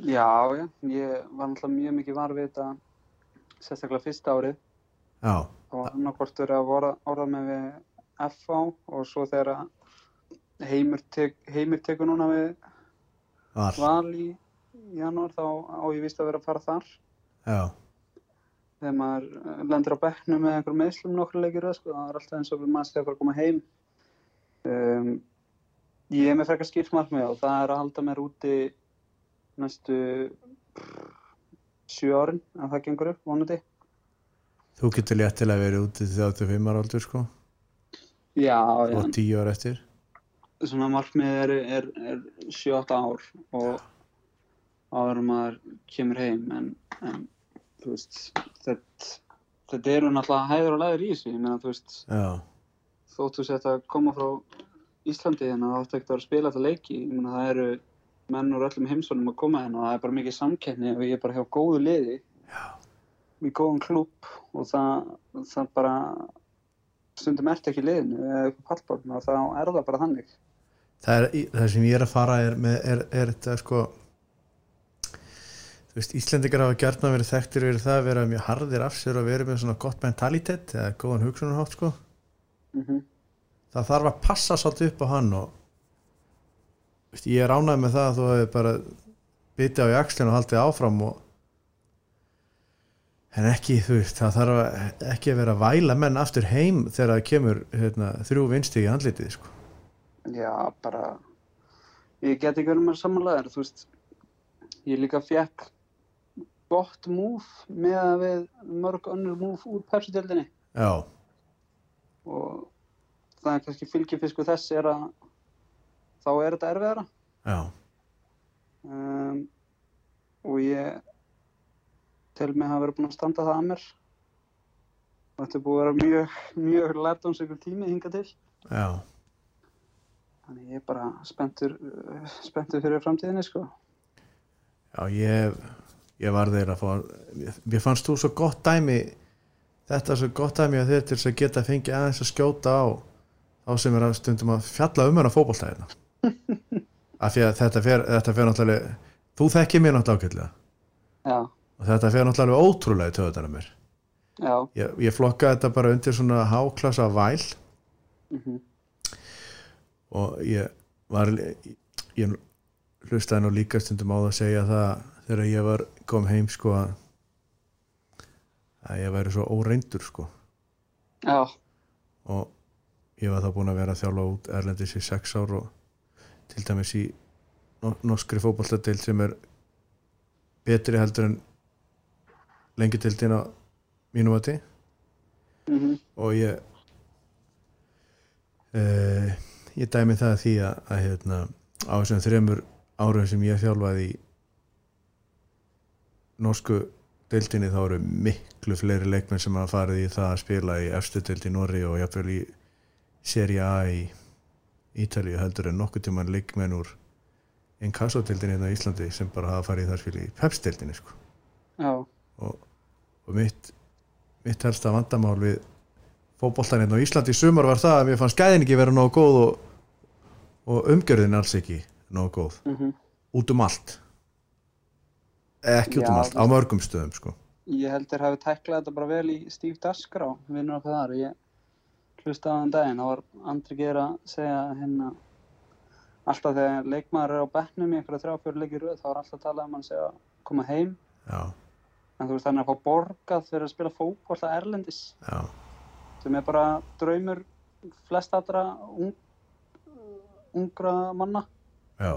Já, já, ég var náttúrulega mjög mikið var við þetta, sérstaklega fyrsta árið.
já,
Það var annarkvort verið að orða, orða með við FH og svo þegar að heimur, tek, heimur tekur núna við
all
val í janúar þá á ég vist að vera að fara þar
já,
þegar maður eh, lendir á bekknum með einhverjum meðslum nokkur leikir röð, sko, það er alltaf eins og maður sé að fara að koma heim um, ég er með frekar skýrt markmið og það er að halda mér úti næstu prr, sjö árin að það gengur upp vonandi
þú getur léttilega verið úti til 35 ára aldur sko
já, já,
og 10 ára eftir
svona markmið er, er, er 7-8 ár og áður en maður kemur heim en, en þú veist þetta, þetta eru náttúrulega hæður og læður í þessu, ég meina þú veist
já,
þótt þú sett að koma frá Íslandi hérna þá áttu ekkert að vera að spila þetta leiki ég meina það eru menn úr öllum heimsónum að koma hérna og það er bara mikið samkeppni og ég er bara hjá góðu liði
Já.
í góðan klúpp og það, það bara stundum ert ekki í liðinu eða eitthvað pallborna og þá er það bara þannig
það, er, það sem ég er að fara er, með, er, er þetta sko þú veist, Íslendingar hafa gert að vera þekktir verið það að vera mjög harðir af sér og verið með svona gott mentalitet eða góðan hugsunarhátt sko
mm
það þarf að passa svolítið upp á hann og þú veist, ég er ánægð með það að þú hefði bara bitið á í axlinu og haldið áfram og en ekki þú veist, það þarf að- ekki að vera að væla menn aftur heim þegar það kemur hérna, þrjú vinstig í handlitið sko.
Já, bara ég get ekki verið með samanlegar þú veist, ég líka fekk gott múf með að við mörg önnur múf úr persutjöldinni
já,
og það er kannski fylgifisku þess er að þá er þetta erfiðara
já,
um, og ég tel mig að hafa verið búin að standa það að mér og þetta er búið að vera mjög, mjög lærdámsökul tími hinga til
já
þannig ég er bara spenntur, uh, spenntur fyrir framtíðinni sko
Já, ég, ég var þeir að fá mér- mér fannst þú svo gott dæmi þetta svo gott dæmi að þeir til þess að geta fengið aðeins að skjóta á á sem er að stundum að fjalla um hana fótboltæðina af því að þetta fer, þetta fer náttúrulega þú þekkir mér náttúrulega ákveðlega
já,
og þetta fer náttúrulega alveg ótrúlega í töðunar mér
já
ég, ég flokkaði þetta bara undir svona háklasa væl
mm
og ég var ég hlustaði nú líka stundum á það að segja það þegar ég var kom heim sko að að ég væri svo óreindur sko
Já,
og ég var þá búinn að vera að þjálfa út Erlendis í sex ár og til dæmis í no- norskri fótballtadeild sem er betri heldur en lengi deildin á mínum að
mm -hmm.
og ég uh, ég dæmi það því að, að hérna, á þessum þremur árum sem ég þjálfaði í norsku deildinni þá eru miklu fleiri leikmenn sem hafa farið í það að spila í efstu deild í Norri og jafnvel í Serie A í Ítalíu heldur en nokkuð tímann leikmenn úr inkasso-deildinni hérna á Íslandi sem bara hafa farið í það spila í Pepsi-deildinni sko
já,
og, og mitt mitt helsta vandamál við fótboltan hérna á Íslandi í sumar var það að mér fannst gæðin ekki vera nógu góð og, og umgjörðin alls ekki nógu góð,
mm
út um allt ekki út
Já,
um allt, á mörgum stöðum sko
ég held þér hafi tæklað þetta bara vel í Steve Daskrá, vinnur okkar þar ég hlustaði á hann um daginn, þá var Andri Geir að segja hérna alltaf þegar leikmaður er á bekknum í einhverja þrjáfjörðu leikir röð, þá er alltaf talað um hann segja að koma heim,
já,
en þú veist hann er að fá borgað fyrir að spila fókvallta Erlendis
já,
sem er bara draumur flest allra ung, ungra manna
já,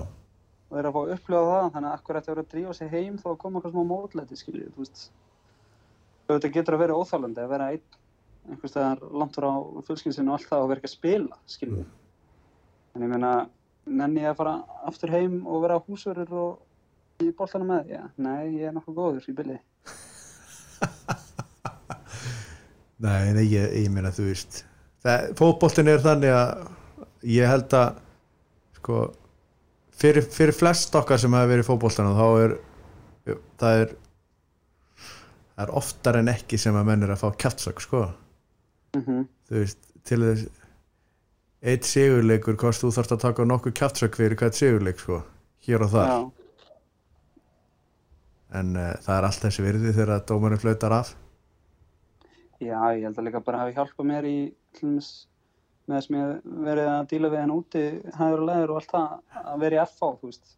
og er að fá að upplifa það þannig að akkur ætti að vera að drífa sig heim þá að koma eitthvað smá mótlæti skiljið þú veist þetta getur að vera óþálandi að vera einn einhvers staðar langt frá fjölskyldinu og allt það og vera ekki að spila skiljið en ég meina nenni ég að fara aftur heim og vera húsverður og í boltanum með já, nei, ég er nokkuð góður í bylli
nei, nei ég, ég meina þú veist það, fótboltin er þannig að ég held að sko fyrir, fyrir flest okkar sem hefur verið í fótboltan þá er það er það er oftar en ekki sem að menn er að fá kjaftsök sko
mm -hmm.
þú veist, til þess eitt sigurleikur, hvort þú þarft að taka nokkuð kjaftsök fyrir hvert sigurleik sko hér og þar,
já,
en uh, það er allt þessi virði þegar að dómarinn flautar af
já, ég held að líka bara hafi hjálpað mér í hlumis með þess að ég hef verið að díla við henn úti hæður og leður og allt það að vera í FH, þú veist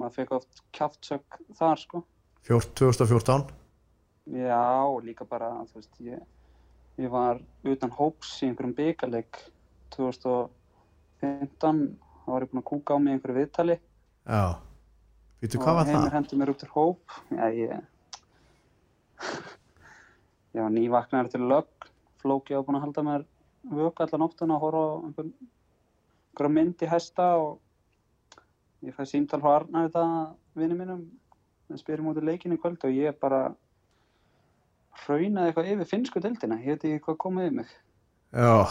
maður fekk oft kjaftsök þar, sko
14 2014
Já, og líka bara, þú veist, ég, ég var utan hóps í einhverjum byggarleik 2015, þá var ég búinn að kúka á mig í einhverju viðtali
já, veitu hvað var
heimir
það?
hendi mér upp til hóp, já, ég, (laughs) ég var nývaknar til lögg, flóki á búinn að halda mér vöku allan óttuna og horfa á einhver, einhverja mynd í hesta og ég fæ símtal frá Arna við það vinnu mínum, en spyrir mútið leikinu í kvöld og ég bara hraunaði eitthvað yfir finnsku dildina, ég veit ekki hvað kom yfir mig
já,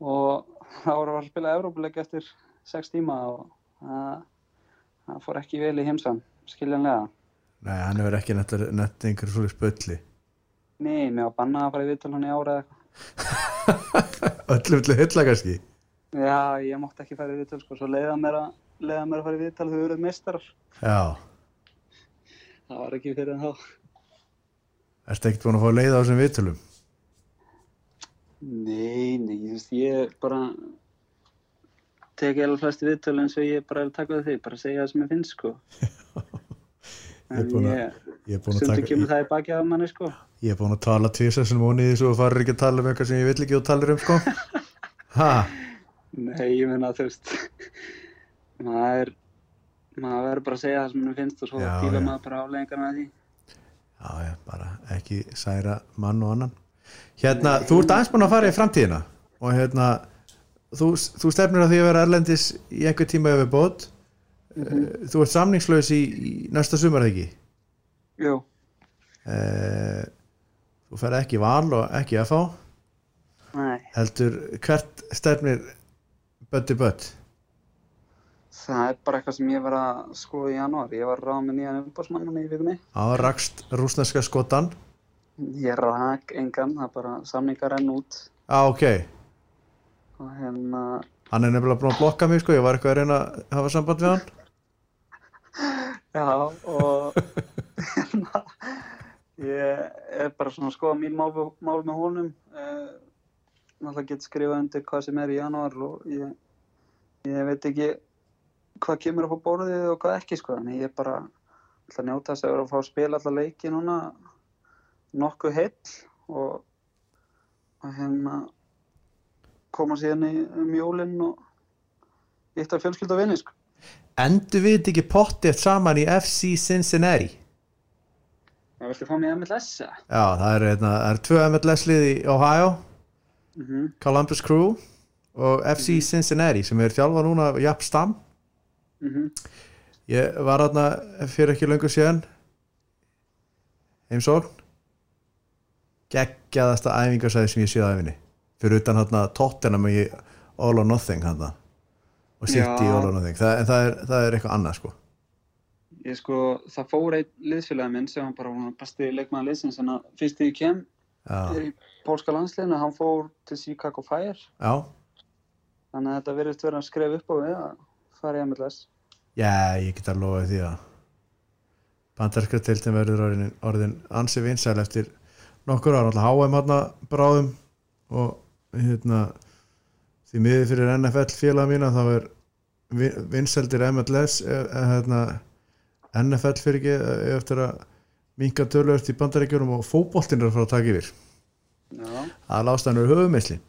og (laughs) þá voru að spila Evrópuleik eftir 6 tíma og það- það fór ekki vel í heimsan, skiljanlega.
nei, hann hefur ekki nett, nett einhver svolítið spölli
Nei, mér var bannað að fara í viðtöl hann í ára eða eitthvað.
öllum til hylla kannski
Já, ég mátti ekki fara í viðtöl sko, svo leiða mér að leiða mér að fara í viðtal þau eruð meistarar.
já,
það var ekki fyrir en þá
Ertu ekkert búin að fá leið á þessum viðtölum?
Nei, nei, þú veist, ég bara tekið alveg flest viðtölu eins og ég bara er að taka því, bara segja það sem ég finnst, sko.
(laughs) Ég er
En
búin að,
ég,
ég er búin að,
stundu
taka,
kemur það í baki af manni, sko.
ég er búin að tala tvisar sem vonið því svo og farir ekki að tala um eitthvað sem ég vill ekki að tala um
(laughs)
sko Ha,
Nei, ég meina, þú veist, (laughs) maður, maður verður bara að segja það sem henni finnst og svo
Já,
fíla
já.
maður bara afleggingar með því.
já já, bara ekki særa mann og annan Hérna, þú ert aðeins búin að fara í framtíðina og hérna þú, þú stefnir að því að vera erlendis í einhver tíma yfir bót
Mhm.
Eh, Þú ert samningslaus í, í næsta sumar eða ekki?
Jú,
Eh, Þú fer ekki í val og ekki að fá
nei,
heldur hvert stefnir bötti bött
það er bara eitthvað sem ég var að skoða í janúar. Ég var ráð með nýjan umbásmann núna í vikunni.
á rakst rúsneska skotan
Ég rak engan, það er bara samningar enn út
á ok,
og hérna,
hann er nefnilega búin að blokka mig sko, ég var eitthvað að reyna að hafa samband við hann
já, og (laughs) hérna, ég er bara svona að skoða mín mál, mál með honum. Uh, náttúrulega get skrifað undir hvað sem er í janúar og ég, ég veit ekki hvað kemur upp á borðið og hvað ekki sko þannig ég bara ætla að njóta þess að vera að fá að spila alla leiki núna nokkuð heill og, og hérna koma síðan í um jólinn og eitt af fjölskyld og vinni sko
endur við þetta ekki pottið saman í FC Cincinnati
ég vilti fá mig að með lessa
já, það er, einna, það er tvö MLS lið í Ohio
mm
Columbus Crew og FC Cincinnati sem er þjálfa núna af Japp Stam ég var þarna fyrir ekki löngu síðan heimsókn geggjaðasta æfingarsæði sem ég séð á æfinni fyrir utan hérna tóttina í All or Nothing hérna og City
Já.
All or Nothing það, en það er, það er eitthvað annað sko
Ég sko, það fór einn liðsfélagi minn sem hann bara var besti leikmaður liðsins en að fyrst þegar ég kem
já,
er í pólska landsliðinu, hann fór til Chicago Fire
já.
þannig að þetta verðist verið að skref upp á við að fara í MLS
já ég get að lofa því að bandarska tiltin verður orðin, orðin ansi vinsæl eftir nokkur ára alltaf HM hérna bráðum og hérna því miður fyrir NFL félaga mína þá er vi- vinsældir MLS eh, eh, hérna, NFL fyrir ekki e, eftir að minka tölvöft í bandaríkjunum og fótboltin er að fara að taka yfir
Já,
að lástanur höfumisli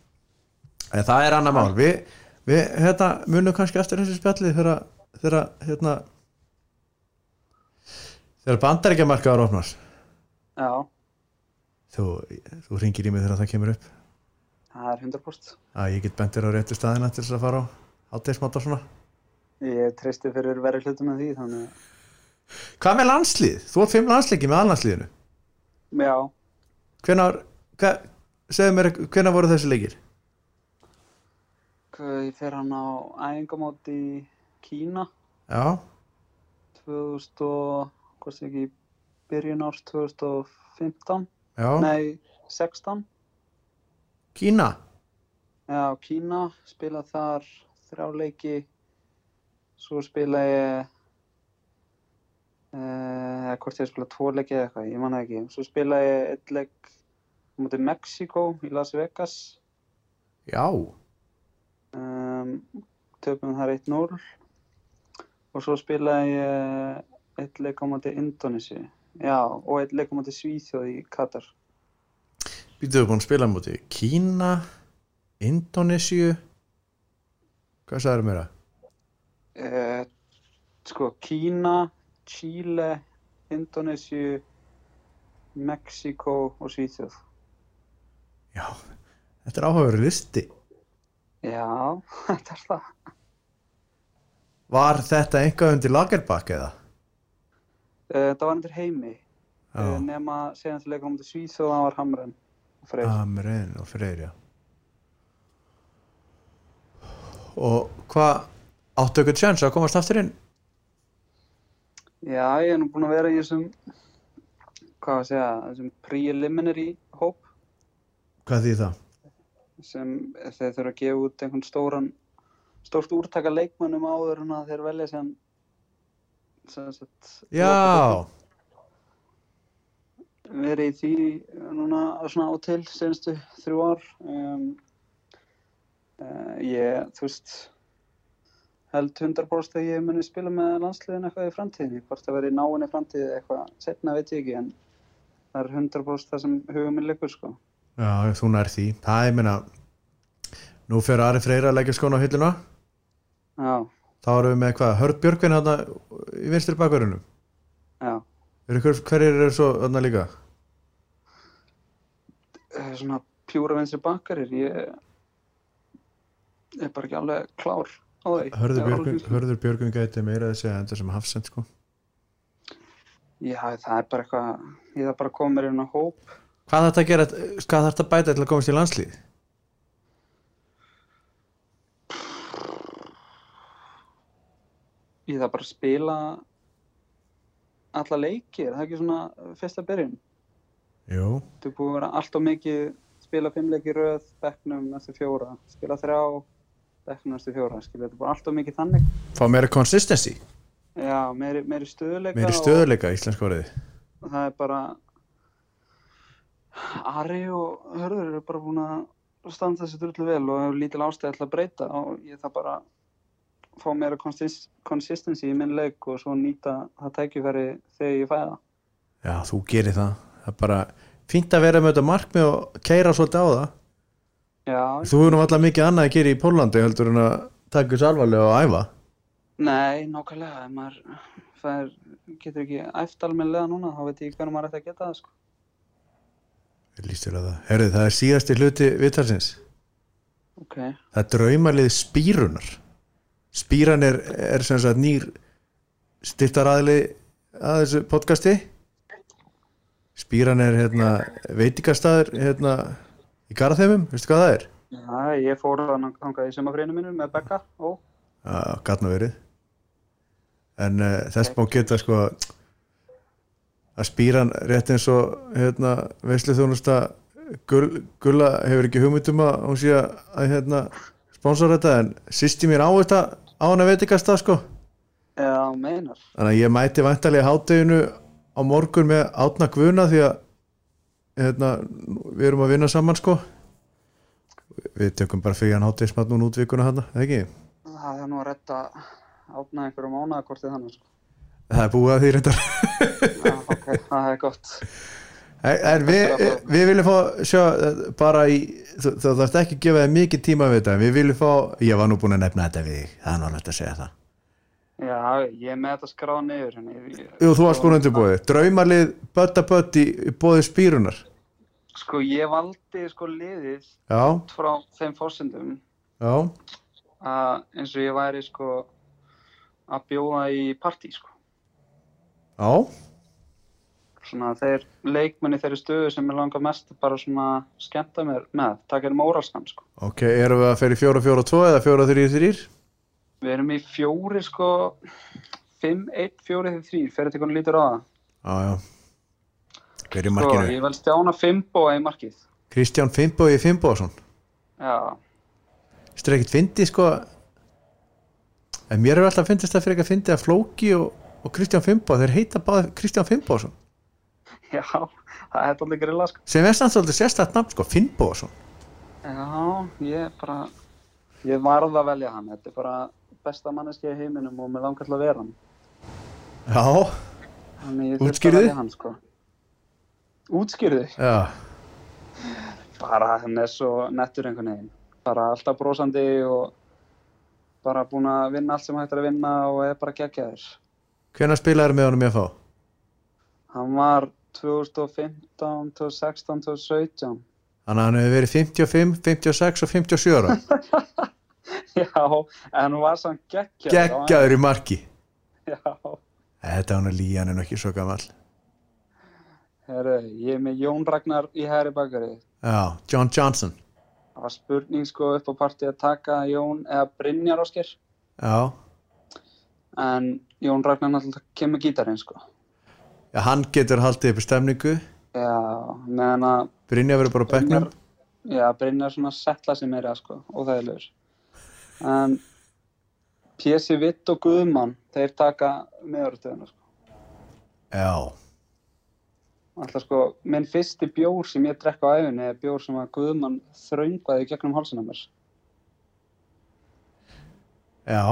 en það er annar mál við, við hérna, munum kannski eftir þessu spjalli þegar þegar hérna, þegar bandaríkjamarkaður opnar
já,
þú, þú ringir í mig þegar það kemur upp
það er 100%
að ég get bentir á réttu staðina til þess að fara á hátægismat og svona
Ég treysti fyrir verið hlutum með því þannig að,
hvað með landslið? þú átt fimm landsleiki með allandsliðinu
já,
hvenar, hver, segðu mér hvenar voru þessi leikir?
hvað- ég fer hann á æfingamót í Kína
já,
2000 og, hvað sé ekki, byrjun árs 2015
já,
Nei, 16
Kína
Já, Kína, spila þar þrjá leiki, svo spila ég, eh, eða hvort ég spila tvo leiki eða eitthvað, ég manna ekki. Svo spila ég einn leik á móti Mexiko í Las Vegas,
já,
um, töpum þar 1-0 og svo spila ég einn leik á móti Indonési, já, og einn leik á móti Svíþjóð í Katar.
býtuðu búin að spila á móti Kína Indonésiu hvað sagður mér að?
Eh, sko, Kína, Chile, Indonésiu, Mexiko og Svíþjóð.
já, þetta er áhugaveru listi
Já, (laughs) þetta er það.
var þetta einhvað undir lagerbakk eða?
Eh, Þetta var endur heimi,
Já.
eh, nema segjum til leikum um til Svíþjóð, það var Hamren og Freyr.
Amren og Freyr, já og hvað áttu ykkur tjens að komast aftur inn?
Já, ég er nú búinn að vera í þessum, hvað að segja, þessum preliminary hóp
hvað því það?
sem þeir þurfa að gefa út einhvern stóran, stórt úrtaka leikmönnum áður en að þeir velja sem, sem sagt,
já,
verið í því núna svona á og til senstu þrjú ár um, uh, ég, þú veist held 100% að ég muni spila með landsliðin eitthvað í framtíðinni hvort það verið náinn í framtíði eitthvað setna veit ég ekki en það er 100% það sem huga minn liggur sko
Já, þú nær því. Það er minna, nú fyrir Ari Freyra að leggja skona á hilluna.
já,
Þá erum við með hvað, Hörð Björgvin hérna í vinstri bakverðinum.
já
Eru hver, hverjir eru svo hérna líka?
Eh, svona pjúra vinstri bakarir ég er bara ekki alveg klár á því
Hörður
Ég er
Björgvin,
alveg-
Hörður Björgvin gæti meira þessi að enda sem hafsend sko.
já, það er bara eitthvað ég þarf bara að koma mér inn á hóp
Hvað þarf þetta að gera, hvað þarf þetta að bæta til að komast í landslið?
ég þarf bara að spila alla leiki, er það ekki svona fyrsta byrjun?
Jú,
Þú er búið að vera allt og mikið spila fimm leiki í röð, bekknum næstu fjóra, spila þrjá, bekknum næstu fjóra, skilja, þetta er bara allt og mikið þannig.
fá meira consistency,
Já, meiri, meiri stöðuleika
meiri stöðuleika íslensk orðið.
og það er bara Ari og Hörður eru bara búin að standa þessi drullu vel og hefur lítil ástæði alltaf að breyta og ég þarf bara að fá meira konsist- consistency í minn leik og svo nýta það tækifæri þegar ég fæ það.
Já, þú gerir það. Það er bara fínt að vera með þetta markmið og keira svolítið á það.
Já,
Þú erum alltaf mikið annað að gera í Pólandi heldur en að taka þessu alvarlega og æfa.
Nei, nákvæmlega, ef maður fær, getur ekki æft almennilega núna, þá veit ég hvernig maður ætti að geta það, sko.
Ég Lýst þér að það. Herðu, það er síðasti hluti viðtalsins.
Ok,
Það er draumalið spýrunar. Spýran er, er sem sagt nýr styrtaraðli að þessu podcasti. Spýran er hérna veitingastæður hérna í Garðheimum, veistu hvað það er?
já, ég fór að hanga í sumafrinu mínu með Becca, ó,
Já, gatna verið. En uh, þess má geta sko að spýran rétt eins og hérna veislu þjónusta Gull, Gulla hefur ekki hugmyndum að hún sé að, að hérna sponsora þetta en sýsti mér á þetta á hana veitingasta sko.
já, meinar,
Þannig að ég mæti vantarlega hátteginu á morgun með átna guðuna því að hérna, við erum að vinna saman sko. Við tökum bara fyrir hann háttegismat núna útvikuna hann, eða ekki?
það er nú að redda átna einhverju mánaðakortið þannig, sko.
Það er búið að því reyndar.
Já, ok, það er gott.
En en við, við viljum fá sjá, eh, bara í, þú, þú þarfst ekki að gefa þig mikið tíma við þetta, en við viljum fá ég var nú búin að nefna þetta við þig, það er náttúrulega að segja það
Já, ég er með þetta skráð niður, hérna, ég,
Jú, þú varst búin undirbúið, draumalið bötta bötti í bóði spýrunar
sko, ég valdi, sko, liðið
Já,
út frá þeim fórsendum
já,
að eins og ég væri, sko, að bjóða í partí, sko.
já
svona þeir leikmenni þeirri stöðu sem ég langar mest bara svona skemmta mér með, taka þeim óralskan sko.
Ok, erum við að fyrir 4-4-2 eða 4-3-3
Við erum í fjóri sko 5, 1, 4, 3, fyrir til hvernig lítur á það
Já, já Hver er í
sko,
markinu?
ég vel stjána 5 bóa í markið
Kristján Fimbo í Fimboðsson
já, (laughs)
Strekkit fyndi sko En mér er alltaf fyndist það fyrir ekki að fyndi að Flóki og, og Kristján Fimbo, þeir heita bara Kristján Fimboðsson
já það er allir grilla sko
sem er samt svolítið sérstætt nafn sko, Finnbóðsson
já, ég bara ég varð að velja hann, þetta er bara besta manneski í heiminum og mér langar til að vera hann
já,
þannig ég þurfti
Útskýrðu?
að velja hann sko útskýrðu?
já,
bara hann er svo nettur einhvern veginn bara alltaf brosandi og bara búin að vinna allt sem hægt er að vinna og er bara geggjaður
hvenær spilaður með honum ég að fá
hann var 2015, 2016, 2017
þannig að hann hefur verið 55, 56 og 57 ára
(laughs) já, en hann var samt geggjaður
geggjaður í marki
já,
þetta hann að líja hann er nú ekki svo gammal
heru, ég er með Jón Ragnar í Hæri Bakari
já, John Johnson
það var spurning sko upp á partí að taka Jón eða Brynjar Óskir
já,
en Jón Ragnar náttúrulega kemur gítarinn sko
já hann getur haldið upp í stemningu
já, meðan að
Brynja verður bara á bekknum
Brynjar- Já, Brynjar svona settla sig meira sko, óþægilegur. En Pési Vitt og Guðmann, þeir taka meðuröðtöðuna sko.
já,
alltaf sko, minn fyrsti bjór sem ég drekk á æfunni er bjór sem að Guðmann þröngaði gegnum hálsina á mér.
Já,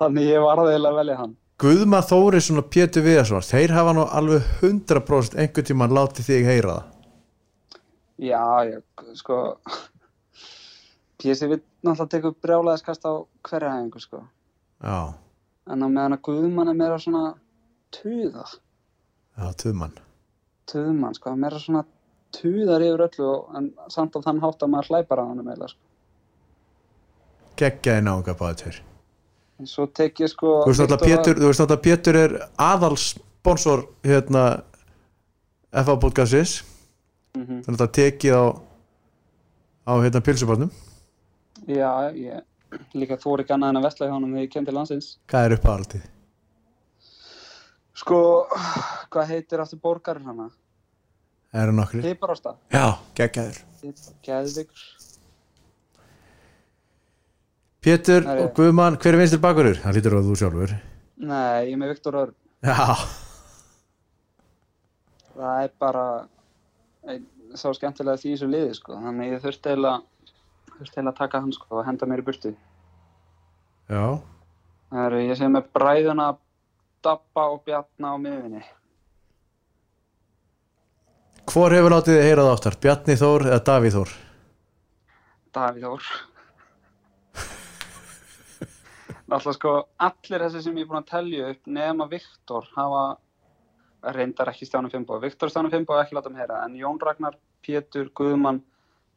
Þannig ég var aðeins að velja hann.
Guðma Þórisson og Pétur Viðarsson þeir hafa nú alveg 100% einhvern tímann látið þig heyra það
Já, já, g- sko, Pési við náttúrulega tekur brjálæðiskast á hverja hæfingu, sko.
Já,
En á meðan að Guðmann er meira svona tuða,
já, tuðmann
tuðmann, sko, meira svona tuðar yfir öllu og- en samt af þann hátt að maður hlæpar á hann um eiginlega, sko.
geggjaði náunga báðir Þú
En svo tek ég sko...
veist náttúrulega Pétur, þú veist náttúrulega Pétur er aðalsponsor hérna FA podcastins
Mm -hmm.
þannig að það tekið á á hérna pilsubarnum
Já, ég líka þóri ekki annað en að vestla hjá honum þegar ég kem til landsins.
Hvað er uppáhaldið?
Sko, hvað heitir aftur borgarinn hana?
Er það nokkri?
Piparosta.
Já, geggjaður
Geðvigur.
Pétur
Það er-
og Guðmann, hver er vinstir bakurur? Það lítur að þú sjálfur
Nei, ég er með Viktor Örn.
Já,
Það er bara ein, sá skemmtilega því í þessu liði, sko. Þannig að ég þurfti eiginlega þurfti eiginlega að taka hann, sko, og henda mér í burtu.
já,
Það eru, ég segi með bræðuna, Dabba og Bjarna á miðvinni.
Hvor hefur látið þið heyrað áttar? Bjarni Þór eða Davíð Þór?
Davíð Þór. Náttúrulega sko, allir þessi sem ég er búinn að telja upp nema Viktor hafa reyndar ekki Stjáni Fimbo. Viktor Stjáni Fimbo ekki láta mig heyra, en Jón Ragnar, Pétur, Guðmann,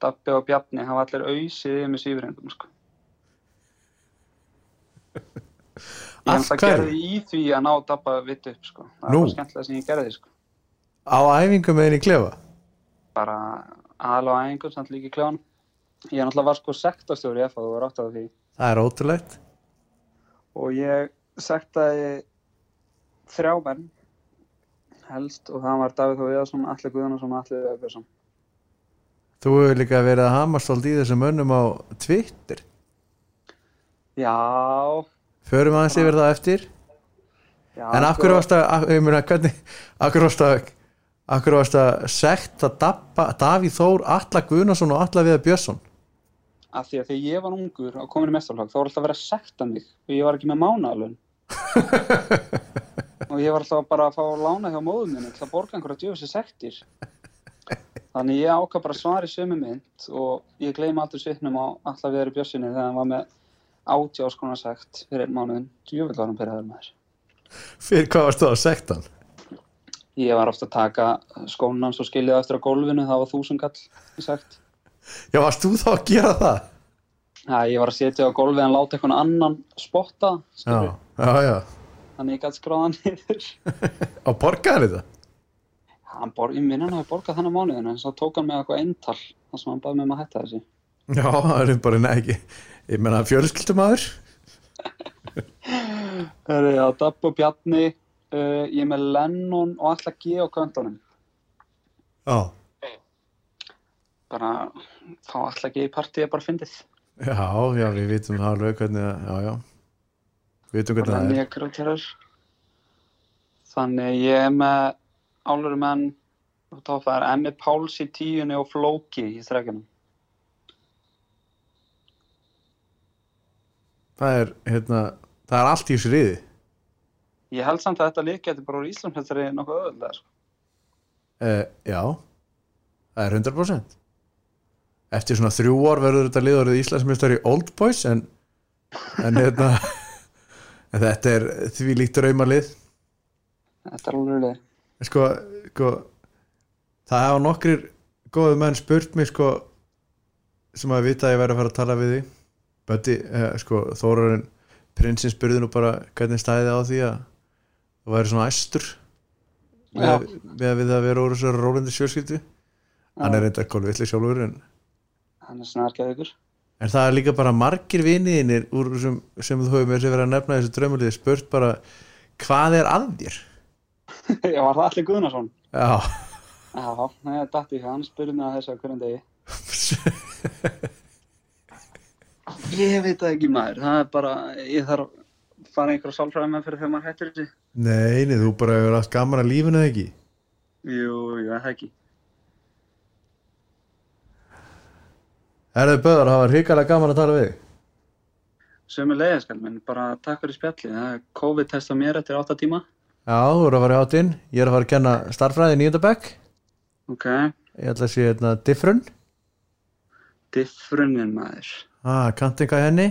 Dabbi og Bjarni hafa allir auðsið með sífurindum, sko. Ég
Af
hans að
hverju?
gerði í því að ná Dabba vitt upp, sko. Það
Nú.
var skemmtilega sem ég gerði, sko.
Á æfingum með henni klefa?
Bara aðal á æfingum, samt líka í kljóðan. Ég náttúrulega var sko sektastjóri í FA, þú var átt af því.
Það er ótrúlegt.
og ég sektaði þrjá menn helst og það var Davíð Þór Viðarsson, Alli Guðunarsson og Alli Öfbjörnsson.
Þú hefur líka verið að hamast svolítið í þessum mönnum á Twitter.
Já,
Förum aðeins yfir það eftir.
já.
En af hverju varst að, af- ég meina, hvernig, af hverju varst að, af hverju varst að sekta Dabba, Davíð Þór, Alla Guðnason og Alla Viða Björnsson?
Af því að þegar ég var ungur og komin í mestarlag þá var alltaf verið að sekta mig og ég var ekki með mánaðalun. og ég var alltaf bara að fá að lána hjá móðum minni til að borga einhverja djöfisir sektir. Þannig ég ákvað bara að svara í sömu mynd og ég gleyma aldrei svitnum á alltaf viðar í bjössinni þegar hann var með átjáskona sekt fyrir einn mánuðin. Djöfill var hann pyrraður maður.
Fyrir hvað varst þú að sekta hann?
Ég var ofta að taka skónan svo skiljaði eftir á gólfinu, það var þúsund kall sagt.
Já, varst þú þá að gera það?
Það, ég var að setja á gólfið en láta einhvern annan spotta,
Já,
skilur,
já, já.
þannig ég gæti skráðan niður.
Og borgaði þetta?
Hann bor, ég minna hann hafi borgað þannig mánuðinu, en svo tók hann með eitthvað eintal, þar sem hann baði mig um að hætta þessi.
Já, það er bara neð ekki. Ég meina, fjölskyldumadur?
Það eru, já, Dabbo Bjarni, uh, ég er með Lennon og alltaf G á kvöntunum.
Já.
Bara, fá alltaf G í partíi er bara fyndið.
Já, já, við vitum það alveg hvernig að, já, já. Við vitum hvernig það
Þannig
er.
ég grótjarar. Þannig ég er með álur menn og þá það er Emmi Páls í tíunni og Flóki í þrækjunum.
Það er, hérna, það er allt í þessu riði.
Ég held samt að þetta líka getur bara úr Íslandsmeistari nokkuð sko. öðvöldar.
Uh, já, það er 100%. Eftir svona þrjú ár verður þetta liðorðið Íslandsmyndstari Old Boys, en, en hérna, (laughs) en þetta er því líkt raumalið.
Þetta er alveg leið.
Sko, sko, það hafa nokkrir góðu menn spurt mér, sko, sem að vita að ég væri að fara að tala við því. Bötti, uh, sko, Þórarinn prinsinn spurði nú bara hvernig stæði á því að það væri svona æstur. við
Já,
að, við að við að vera úr þessari rólandi sjöskildu hann er reynda kólu vitli sjálfur en,
hann er snarkjað (laughs) ykkur.
en það er líka bara margir viniðinir úr sem, sem þú hefur með sér verið að nefna í þessu draumuliði spurt bara hvað er að þér
ég var það allir Guðnarsson.
já (laughs)
Já, nei, ég dætti ekki. Hann spurði mig að þessu á hverjum degi. Ég veit það ekki maður. Það er bara, ég þarf að fara í einhverja sálfræðum fyrir þegar maður hættir þessi.
Nei, nei, þú bara hefur allt gaman að lífinu eða ekki
Jú, jú, er það ekki
Erðu Böðar, það var hrikalega gaman að tala við þig.
Sumi leiðis, menn, bara takk fyrir spjalli Það er COVID-testa mér eftir 8 tíma
Já, þú eru að fara í hátinn Ég er að fara að kenna starfræði í nýjöndabæk
Ok,
Ég ætla að sé hérna diffrun
diffrunin maður
ah, Kantinga henni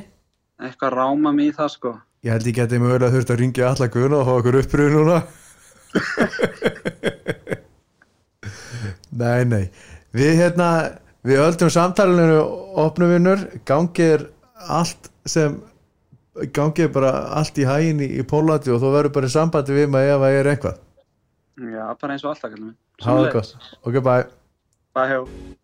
Eitthvað ráma mig í það sko
Ég held ég geti mögulega þurft að ringja allar guðuna og fá okkur uppröðu núna (laughs) Nei, nei Við hérna, við höldum samtalinu opnum vinnur, gangið er allt sem gangið er bara allt í hægin í, í Pólandi og þú verður bara í sambandi við mig ef að ég er einhvað
Já, bara eins og alltaf kallum við
Hafa það gott, ok bye
Bye, hjá